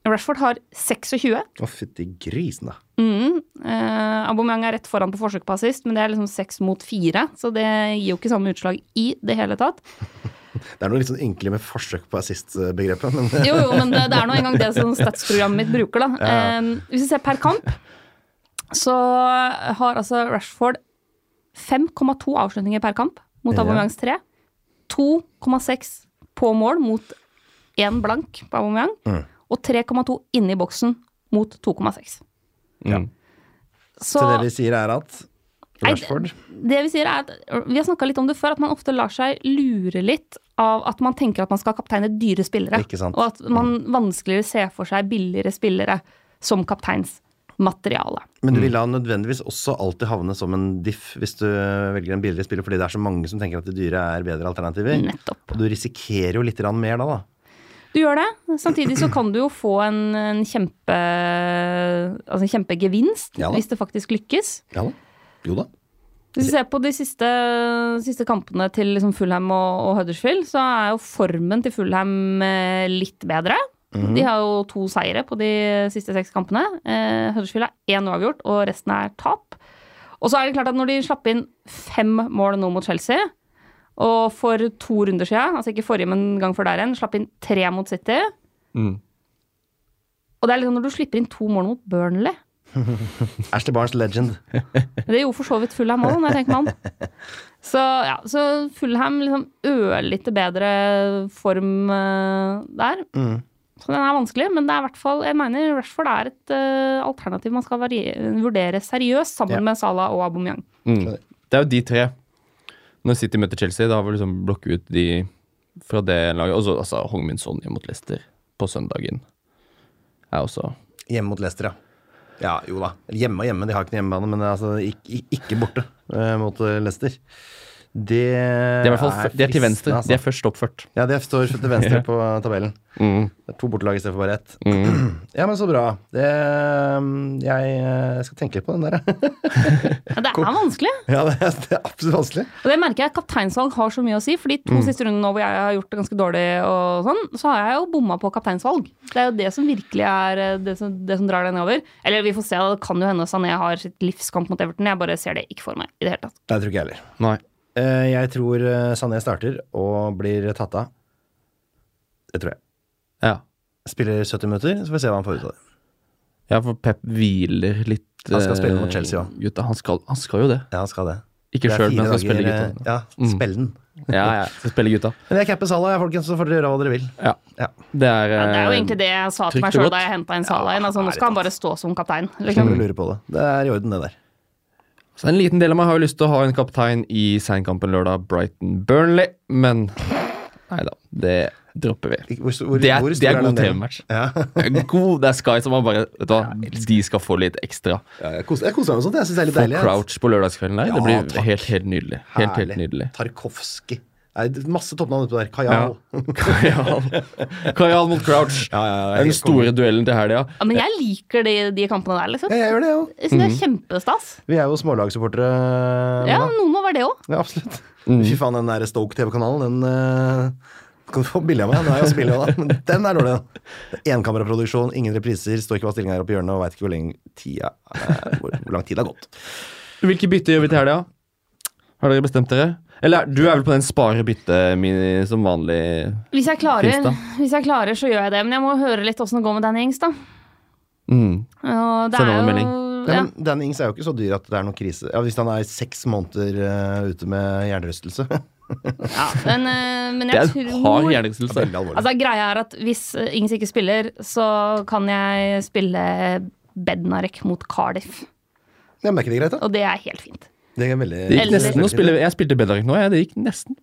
Rashford har 26.
Å, fytti grisen, da.
Mm. Eh, Aubameyang er rett foran på forsøk på assist, men det er liksom seks mot fire, så det gir jo ikke samme utslag i det hele tatt.
Det er noe litt sånn ynkelig med forsøk på assist-begrepet, men eh,
Jo, jo, men det, det er nå engang det som statsprogrammet mitt bruker, da. Eh, hvis vi ser per kamp, så har altså Rashford 5,2 avslutninger per kamp mot
Ja.
Aubameyangs 3. 2,6 på mål mot én blank på Aubameyang. Og 3,2 inne i boksen mot 2,6.
Ja.
Så
så det vi sier, er at
Nei,
Rashford
det vi sier er at Vi har snakka litt om det før, at man ofte lar seg lure litt av at man tenker at man skal kapteine dyre spillere.
Ikke sant. Mm.
Og at man vanskeligere ser for seg billigere spillere som kapteinsmateriale.
Men du vil da
Mm.
nødvendigvis også alltid havne som en diff hvis du velger en billigere spiller, fordi det er så mange som tenker at det dyre er bedre alternativer.
Nettopp.
Og du risikerer jo litt grann mer da, da.
Du gjør det. Samtidig så kan du jo få en, en kjempe Altså en kjempegevinst
Ja da.
hvis det faktisk lykkes.
Ja da. Jo da.
Hvis du ser på de siste, siste kampene til liksom Fulham og, og Huddersfield, så er jo formen til Fulham eh, litt bedre. De har jo to seire på de siste seks kampene. Eh, Huddersfield er én uavgjort, og resten er tap. Og så er det klart at når de slapp inn fem mål nå mot Chelsea, og for to runder siden, altså ikke forrige, men gang før der igjen, slapp inn tre mot City
Mm.
Og det er liksom når du slipper inn to mål mot Burnley
Ashley Barnes legend.
Det gjorde for så vidt Fulham òg, når jeg tenker meg om.
[laughs]
Så, ja, så Fulham liksom ørlite bedre form eh, der.
Mm.
Så den er vanskelig, men det er i hvert fall, jeg mener Rashford er et eh, alternativ man skal varie, vurdere seriøst sammen
Ja.
med Salah og Aubameyang.
Mm. Det er jo de tre. Når City møter Chelsea, da har vi liksom blokket ut de fra det laget. Og så altså, Hongmin Sonja mot Leicester på søndagen er også
Hjemme mot Leicester, ja. Ja, jo da. Hjemme og hjemme, de har ikke noen hjemmebane, men altså, ikke, ikke borte eh, mot eh, Leicester. Det
De er, i hvert fall, de er til venstre.
fristende, altså.
De er først oppført.
Ja, det står til
[laughs]
venstre
Ja.
på tabellen.
Mm.
Det er to bortelag istedenfor bare ett.
Mm.
[clears throat] Ja, men så bra. Det, mm, jeg eh, skal tenke litt på den der, jeg.
Ja, det er vanskelig.
[laughs] ja, det er, det er absolutt vanskelig.
Og det merker jeg kapteinsvalg har så mye å si. For de
Mm.
to siste rundene nå hvor jeg har gjort det ganske dårlig, og sånn, så har jeg jo bomma på kapteinsvalg. Det er jo det som virkelig er eh, det som, det som drar deg nedover. Eller vi får se, det kan jo hende Sané har sitt livskamp mot Everton. Jeg bare ser det ikke for meg i det hele tatt.
Nei, jeg tror ikke jeg heller.
Nei.
Eh, Jeg tror eh, Sané starter og blir tatt av. Det tror jeg.
Ja.
Spiller 70 minutter, så får vi se hva han får ut av det.
ja, for Pep hviler litt.
Han skal
eh,
spille mot Chelsea også.
Gutta, han skal, han skal jo det.
Ja, han skal det.
Ikke
Det er
sjøl,
fire
men han skal spille
dager,
Mm.
eh,
gutta.
Ja, spille den.
Ja, ja, skal spille gutta.
Men jeg capper Salah, jeg, folkens, så får dere gjøre hva dere vil.
Ja.
Ja.
Det er,
Ja, det er jo
eh,
egentlig det jeg sa til
trygt
meg
og
sjøl
godt.
da jeg henta inn Salah igjen. Altså, nå
ærlig
skal han bare stå som kaptein.
Kan
Mm.
Liksom.
du lure på det. Det er i orden, det der.
Så En liten del av meg har jo lyst til å ha en kaptein i seinkampen lørdag, Brighton-Burnley, men Nei da, det dropper vi.
Hvor, hvor,
Det er,
hvor
det
stor
er god
den delen?
TV-match.
Ja. [laughs]
God, Det er Sky som har bare Vet du hva, de skal få litt ekstra.
Ja, jeg koser jeg koser meg med sånt. Jeg syns det er litt
Få
deilig. jeg.
Crouch på lørdagskvelden der.
Ja,
det blir
takk.
helt, helt nydelig. Helt, helt nydelig.
Tarkovskij. Nei, det er Masse toppnavn utpå der.
Ja.
Kajal.
[laughs] Kajal. Kajal mot Crouch.
Ja, ja, ja,
Det er den
helt
store duellen til helga.
Ja, men jeg liker de, de kampene der, liksom.
Ja, jeg gjør det, jeg òg.
Jeg synes
Mm.
det er kjempestas.
Vi er jo smålagssupportere.
Ja,
Mona.
noen må være det òg.
ja, absolutt.
Mm.
Fy faen, den der Stoke-TV-kanalen, den eh, kan du få bilde av meg. Den er jo så billig, da. Men den er dårlig. da. Det er Enkameraproduksjon, ingen repriser, står ikke hva stillinga er oppe i hjørnet, og veit ikke hvor, lenge tida, eh, hvor, hvor lang tid det har gått.
Hvilke bytte gjør vi til helga? Har dere bestemt dere? Eller er- du er vel på den spare bytte min, som vanlig?
Hvis
Finnes
jeg, klarer,
det?
hvis jeg klarer, så gjør jeg det. Men jeg må høre litt åssen det går med Danny Ings, da.
Mm.
Og det
Send
er
han en
jo,
Ja,
ja.
men Dan Ings er jo ikke så dyr at det er noen krise. Ja, hvis han er seks måneder eh, ute med hjernerystelse. [laughs]
ja, men, eh, men
Det er
jeg
en hard
tror
hjernerystelse.
Veldig alvorlig.
Altså Greia er at hvis eh, Ings ikke spiller, så kan jeg spille Bednarek mot Cardiff.
Ja, men er ikke det greit, da?
Og det er helt fint.
Det er veldig
Det gikk
Eller-
nesten å spille Jeg spilte Bedarek nå, jeg. Det gikk nesten.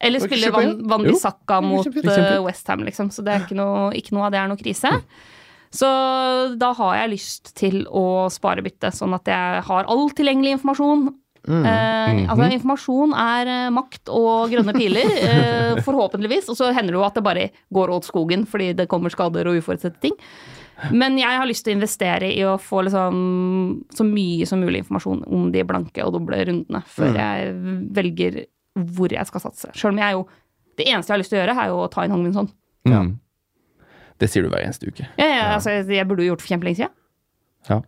Eller
Var ikke
spille
kjøpe
Van,
igjen?
Van
Jo,
Bissaka mot
kjøpe
igjen.
eh, West Ham liksom. Så det er ikke noe, ikke noe av det er noe krise. Så da har jeg lyst til å spare byttet, sånn at jeg har all tilgjengelig informasjon. Eh, altså Informasjon er eh, makt og grønne piler, eh, forhåpentligvis. Og så hender det jo at det bare går åt skogen fordi det kommer skader og uforutsette ting. Men jeg har lyst til å investere i å få liksom, så mye som mulig informasjon om de blanke og doble rundene før
Mm.
jeg velger hvor jeg skal satse. Selv om jeg jo Det eneste jeg har lyst til å gjøre, er jo å ta inn sånn. Hongminson.
Mm. Det sier du hver eneste uke.
Jeg, jeg, altså, jeg burde jo gjort det for kjempelenge siden.
Ja.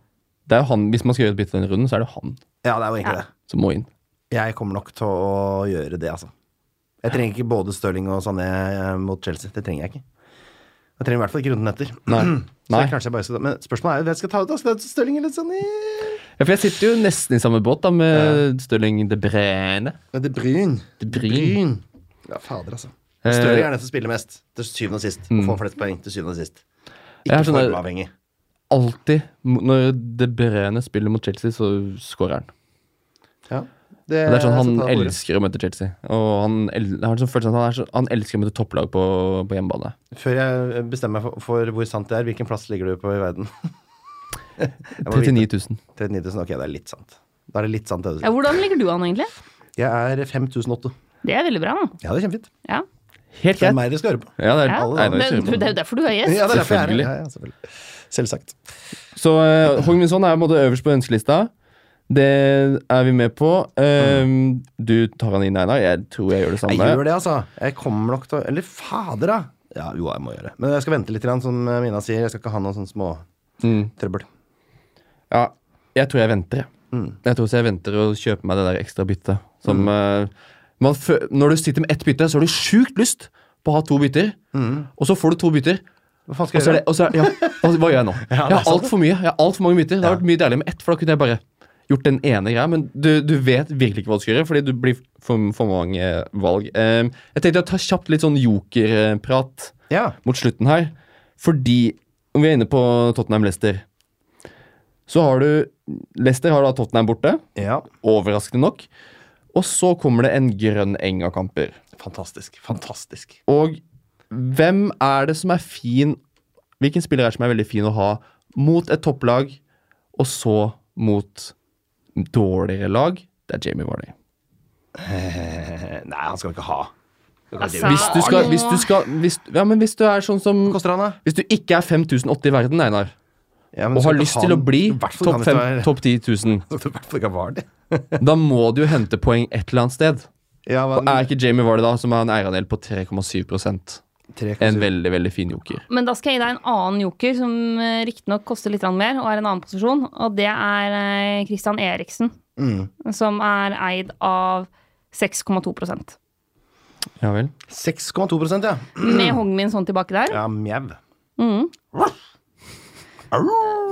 Det er jo han, hvis man skal gjøre et bytte denne runden, så er det jo han
Ja, det er jo egentlig det.
som må inn.
Jeg kommer nok til å gjøre det, altså. Jeg trenger ikke både Stirling og Sané eh, mot Chelsea. Det trenger jeg ikke. Jeg trenger i hvert fall ikke runden etter.
Nei.
[clears throat] Så
Nei.
kanskje jeg bare skal ta Men spørsmålet er jo hvem skal ta ut, da? Skal jeg ta Stirling eller Sané?
Ja, for jeg sitter jo nesten i samme båt da med Stirling de Brene.
Det er Bryn.
De Bruyne.
Ja, fader, altså.
Eh, Mm.
Stirling er den som spiller mest, til syvende og sist. Og får flest poeng til syvende og sist.
Jeg
Ikke
har sånn-
formavhengig.
Alltid mo- når De Brene spiller mot Chelsea, så scorer han.
Ja.
Og Det er sånn Han
så ta ordet.
elsker å møte Chelsea. Og han, el jeg har en sånn følelse av at han, er så, han elsker å møte topplag på, på hjemmebane.
Før jeg bestemmer meg for, for hvor sant det er, hvilken plass ligger du på i verden? [laughs] Jeg må
39
vite.
000.
39 000, ok, det er litt sant. Da er det litt sant, det du
Ja,
sier.
hvordan ligger du an, egentlig?
Jeg er 5008.
Det er veldig bra. Da.
Ja, det er kjempefint.
Ja.
Helt
Det er
greit.
meg dere skal høre på.
Ja, det er,
Ja.
Nei, det
Det,
er
det
ikke-
er jo derfor du er gjest.
Ja, det er derfor jeg er her.
Selvfølgelig.
Ja, ja, selvfølgelig. Selvsagt.
Så uh, Hongminson er på en måte øverst på ønskelista. Det er vi med på. Eh, Du tar han inn, Einar. Jeg tror jeg gjør det
Mm. Jeg
samme.
gjør det, altså. Jeg kommer nok til å Eller fader, da! Ja, jo, jeg må gjøre det. Men jeg skal vente litt, grann, som eh, Mina sier. Jeg skal ikke ha noe sånn småtrøbbel.
Mm. Ja, jeg tror jeg venter, jeg.
Mm.
Jeg tror også jeg venter og kjøper meg det der ekstra byttet. Som, eh, man fø- når du sitter med ett bytte, så har du sjukt lyst på å ha to bytter. Og så får du to bytter,
Hva faen
og
Mm. skal
så
jeg
er
gjøre?
det, og så er, ja, og så- hva gjør jeg nå?
[laughs] Ja, det er
jeg har
sant.
altfor mye. Jeg har alt for mange bytter. Det hadde vært mye deiligere med ett, for da kunne jeg bare gjort den ene greia. Men du, du vet virkelig ikke hva du skal gjøre, fordi du blir for, for mange eh, valg. Eh, jeg tenkte å ta kjapt litt sånn jokerprat
Ja.
mot slutten her. Fordi om vi er inne på Tottenham-Lester, så har du Lester har da Tottenham borte,
ja.
overraskende nok. Og så kommer det en grønn eng av kamper.
Fantastisk. Fantastisk.
Og hvem er det som er fin Hvilken spiller er det som er veldig fin å ha mot et topplag, og så mot dårligere lag? Det er Jamie Warney.
Eh, Nei, han skal vi ikke ha.
Altså,
Hvis du skal, hvis du skal hvis, Ja, men hvis du er sånn som
Hva koster han, da?
Hvis du ikke er 5080 i verden, Einar,
Ja, men
og
skal
har
ikke
lyst
ha
til å
han-
bli
I hvert fall
topp
kan det
fem-
ikke være-
topp 10 000
[laughs] I hvert fall ikke han var det.
Da må du jo hente poeng et eller annet sted.
Ja,
Og er ikke Jamie Vardy da, som har en eierandel på 3,7 En veldig, veldig fin joker.
Men da skal jeg gi deg en annen joker, som eh, riktignok koster litt grann mer, og er en annen posisjon. Og det er eh, Christian Eriksen,
Mm.
som er eid av 6,2
Ja vel.
6,2 ja.
Med Hongmin sånn tilbake der.
Ja, mjau.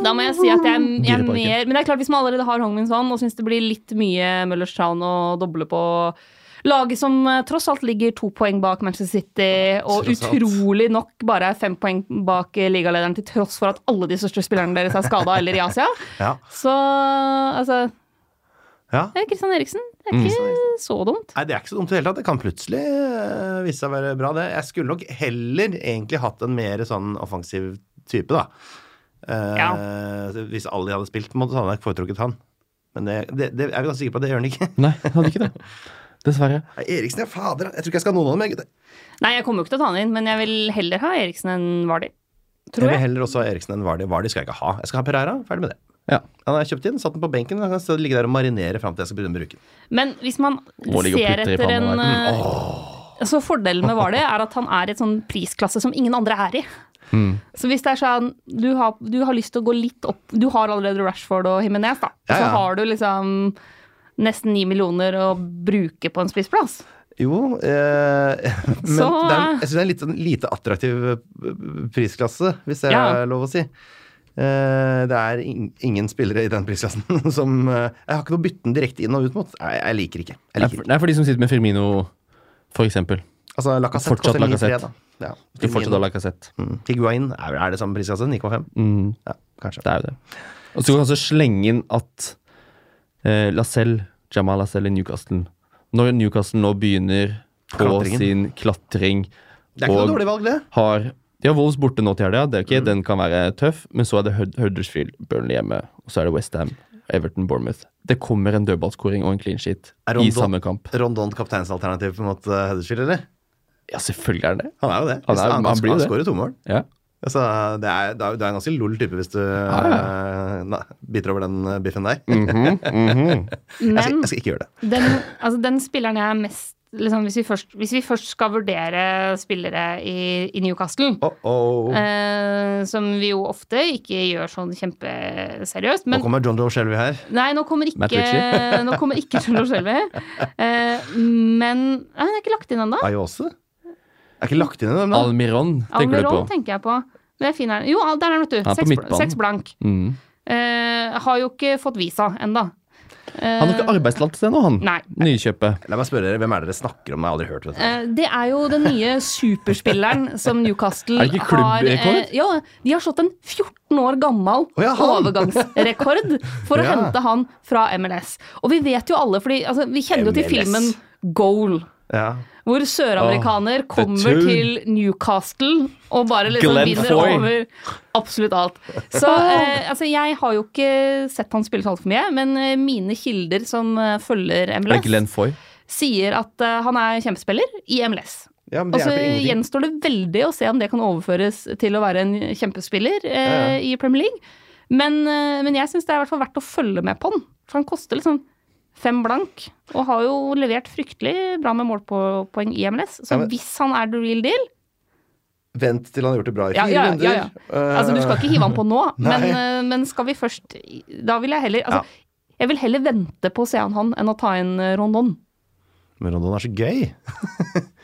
Da må jeg si at jeg, er- jeg er
Dyreparken.
mer Men det er klart, hvis man allerede har Hongmin sånn, og syns det blir litt mye Møllers Town å doble på laget som eh, tross alt ligger to poeng bak Manchester City, og
Tross alt.
utrolig nok bare er fem poeng bak eh, ligalederen, til tross for at alle de største spillerne deres er skada eller i Asia.
[laughs] Ja.
Så altså
ja.
eh, Christian Eriksen, det
Mm.
er ikke så dumt.
Nei, det er ikke så dumt i det hele tatt. Det kan plutselig eh, vise seg å være bra, det. Jeg skulle nok heller egentlig hatt en mer sånn offensiv type, da. Eh, Hvis Ali hadde spilt, på en måte, så hadde jeg foretrukket han. Men det, det, det er vi ganske sikre på at det gjør han ikke.
Nei, han hadde ikke det. Dessverre.
[laughs] Nei, Eriksen, ja, fader. Jeg tror ikke jeg skal ha noen av dem. jeg, gutter.
Nei, jeg kommer jo ikke til å ta han inn, men jeg vil heller ha Eriksen enn Vardi.
Jeg
Tror
vil
jeg.
heller også ha Eriksen enn Vardi. Vardi skal jeg ikke ha. Jeg skal ha Pereira. Ferdig med det.
Ja.
Han har jeg kjøpt inn, satt den på benken. Han kan stå- ligge der og marinere fram til jeg skal begynne å bruke den.
Men hvis man
Må ligge og
ser
putre i
etter en
panna der.
eh, Så fordelen med Vardi er at han er i et sånn prisklasse som ingen andre er i.
Mm.
Så hvis det er sånn du har, du har lyst til å gå litt opp Du har allerede Rashford og Himinez, da.
Ja,
Så
ja.
har du liksom nesten ni millioner å bruke på en spissplass.
Jo, eh, [laughs] men
Så,
det er,
eh,
jeg syns det er en litt, sånn lite attraktiv eh, prisklasse, hvis det
Ja.
er lov å si. Eh, det er in ingen spillere i den prisklassen [laughs] som eh, Jeg har ikke noe å bytte den direkte inn og ut mot. Nei, jeg liker ikke. Jeg
Det er
liker
for-
ikke.
det er for de som sitter med Firmino, for eksempel.
Altså, Lacassette
Fortsatt
koster 9,3,
Lacazette.
da. Ja.
Du fortsatt har Lacassette.
Mm. Higuain, er, er det samme prisklasse? 9,5?
Mm,
Ja, kanskje.
det er jo det. Og så kan vi også slenge inn at eh, Lacelle, Jamal Lacelle i Newcastle Når Newcastle nå begynner på
Klatringen.
sin klatring
Det er ikke
og-
noe dårlig valg, det.
har De har Wolves borte nå til helga. Det er ok, Den kan være tøff. Men så er det Hud- Huddersfield, Burnley hjemme, og så er det Westham, Everton, Bournemouth. Det kommer en dødballskåring og en clean sheet
Er
i
Rondon-
samme kamp.
Rondon kapteinsalternativ mot eh, Huddersfield, eller?
Ja, selvfølgelig er det det.
Han er jo det.
Han er-
Hvis han,
han
han,
blir jo det.
skårer to mål.
Ja.
Altså, det er, det er- du er en ganske lol type hvis du eh, nei, biter over den eh, biffen der. mm-hmm.
Altså,
Jeg, skal,
Men
jeg skal ikke gjøre det.
den, altså den spilleren jeg er mest liksom, hvis, vi først, hvis vi først skal vurdere spillere i, i Newcastle,
Oh, oh.
eh, som vi jo ofte ikke gjør sånn kjempeseriøst
Nå
men,
kommer John Joe Shelby her.
Nei, nå kommer
Matt
ikke, [laughs] nå kommer ikke Charlo Shelby. Eh, men nei, han er ikke lagt inn ennå.
Ayose? Er ikke lagt inn i dem, da?
[laughs] Almiron tenker
Almiron
du på.
tenker jeg på. Men jeg finner den. Jo, der er han, vet du.
Han er på
Seks,
midtbanen.
seks blank.
Mm.
Eh, har jo ikke fått visa ennå.
Han har ikke arbeidstillatelse ennå, han.
Nei.
Nykjøpet.
La meg spørre dere, Hvem er det dere snakker om? Jeg har aldri hørt dette.
Eh, Det er jo den nye
[laughs]
superspilleren som Newcastle
Er det ikke klubbrekord?
har eh, Jo, de har slått en 14 år gammel
Å ja, han!
overgangsrekord
[laughs]
for å
Ja.
hente han fra MLS. Og vi vet jo alle, fordi altså, vi kjenner jo til
MLS.
filmen Goal.
Ja.
Hvor søramerikaner
Åh, the
kommer
two.
til Newcastle og bare liksom
Glenn
vinner
Foy.
over absolutt alt.
[laughs]
Så eh, altså, jeg har jo ikke sett han spille så altfor mye, men eh, mine kilder som eh,
Er
følger
det
MLS,
Glenn Foy?
sier at eh, han er kjempespiller i MLS.
ja, men
Og
det
så
hjelper ingenting.
gjenstår det veldig å se om det kan overføres til å være en kjempespiller eh,
Ja, ja.
i Premier League. Men, eh, men jeg syns det er i hvert fall verdt å følge med på han. For han koster liksom fem blank, og har jo E levert fryktelig bra med målpoeng i MLS. Så
Ja, men-
hvis han er the real deal,
Vent til han har gjort det bra i
Ja,
fire
ja, ja,
runder. Eh,
ja. Altså, Du skal ikke hive han på
[laughs]
nå, men, eh, men skal vi først Da vil jeg heller altså, Jeg vil heller vente på å se han han enn å ta inn eh, Rondon.
Men Rondon er så gøy!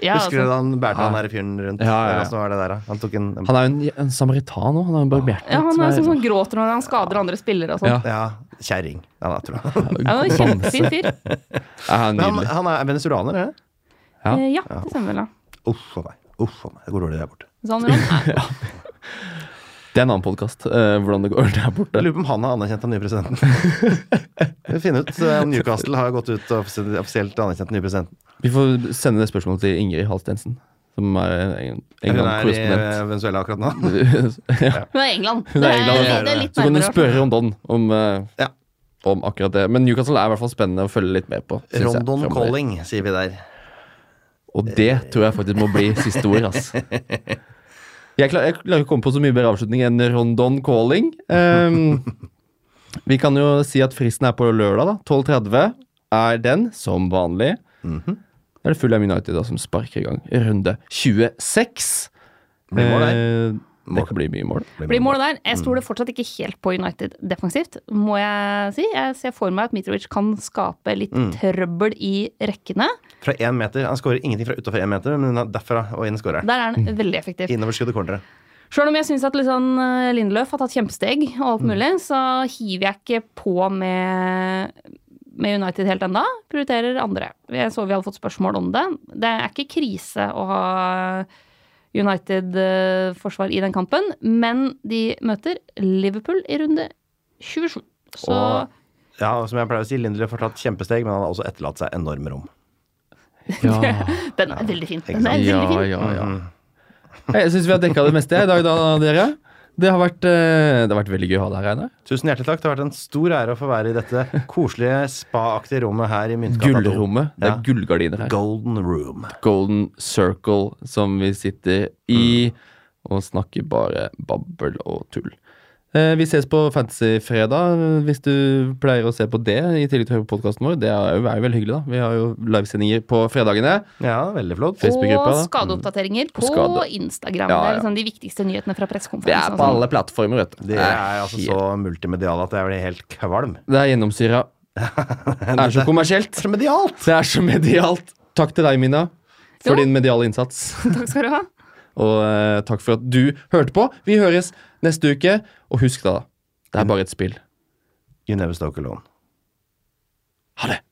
Ja,
Husker du
altså,
da han bærte han
Ja.
der fyren rundt?
Ja, ja, ja.
Eller hvordan var det der, da? Han tok en,
Han er jo en, en samaritan òg. Han er jo en barbert.
ja, han er sånn som gråter når han skader andre spillere og sånn.
Ja.
Ja.
Ja, kjerring. Ja, da tror jeg.
han er en Kjempefin fyr.
Ja, han er
Men han,
nydelig.
han er venezuelaner, er det?
Ja.
Eh, Ja, det stemmer vel, ja.
Uff a meg. Uff a meg. Det går dårlig der borte.
Så han
[laughs]
Ron-
Det er en annen podkast, hvordan det går der borte.
Jeg lurer på om han har anerkjent den nye presidenten. [laughs] Vi får finne ut eh, om Newcastle har gått ut og offisielt offisielt anerkjent den nye presidenten.
Vi får sende det spørsmålet til Ingrid Halstensen, som er en
Hun er i
England-korrespondent.
eh, Venezuela akkurat nå.
ja.
Hun er England.
Hun er England,
det,
ja.
er, det er litt
Så kan du
nærmere.
spørre Rondon om, eh,
Ja.
om akkurat det. Men Newcastle er i hvert fall spennende å følge litt med på. [laughs] synes jeg,
Rondon
fremover.
Calling, sier vi der.
Og det tror jeg faktisk må bli siste ord,
[laughs]
ass. Jeg klarer, jeg klarer ikke å komme på så mye bedre avslutning enn Rondon Calling. Ehm, vi kan jo si at fristen er på lørdag, da. 12.30 er den, som vanlig.
Mhm.
Da er det Fulham United da, som sparker i gang runde 26.
Blir mål der.
Eh,
Mål.
det kan bli mye mål.
Blir målet der. Jeg stoler fortsatt ikke helt på United defensivt, må jeg si. Jeg ser for meg at Mitrovic kan skape litt
Mm.
trøbbel i rekkene.
Fra én meter. Han skårer ingenting fra utafor én meter, men derfra og inn skårer han.
Der er
Mm.
han veldig effektiv.
Innoverskuddet corneret.
Sjøl om jeg syns at liksom eh, Lindløf har tatt kjempesteg og alt
Mm.
mulig, så hiver jeg ikke på med, med United helt ennå. Prioriterer andre. Jeg så vi hadde fått spørsmål om det. Det er ikke krise å ha United-forsvar i den kampen, men de møter Liverpool i runde 27. Så
Og- Ja, og som jeg pleier å si, Lindelöf har tatt kjempesteg, men han har også etterlatt seg enorme rom.
[laughs] Ja,
den er veldig fin.
sant?
Den er veldig
ja,
fin.
ja. ja.
Mm-hmm.
Jeg syns vi har dekka det meste i dag, da, dere. Det har vært, eh, det har vært veldig gøy å ha deg her, Einar.
Tusen hjertelig takk. Det har vært en stor ære å få være i dette koselige spa-aktige rommet her i Myntgata. to.
Gullrommet. Det
Ja.
er gullgardiner her.
Golden Room.
Golden Circle som vi sitter
Mm.
i og snakker bare babbel og tull.
Mm.
Eh, Vi ses på Fantasyfredag, eh, hvis du pleier å se på det i tillegg til å høre på podkasten vår. Det er jo, er jo veldig hyggelig, da. Vi har jo livesendinger på fredagene.
Ja, veldig flott.
Facebook-gruppa, da.
Og skadeoppdateringer på
skade. Ja,
Instagram. Det
ja.
er liksom de viktigste nyhetene fra
Det er
pressekonferansen. sånn.
på alle plattformer, vet du.
sånn. Det er altså
helt-
så multimedial at jeg blir helt kvalm.
Det er gjennomsyra. Det er så kommersielt.
Så medialt!
Det er så medialt. Takk til deg, Mina, for
Jo.
din mediale innsats.
Takk skal du ha.
Og eh, takk for at du hørte på. Vi høres neste uke. Og husk da, det er bare et spill.
You never stoke alone.
Ha det!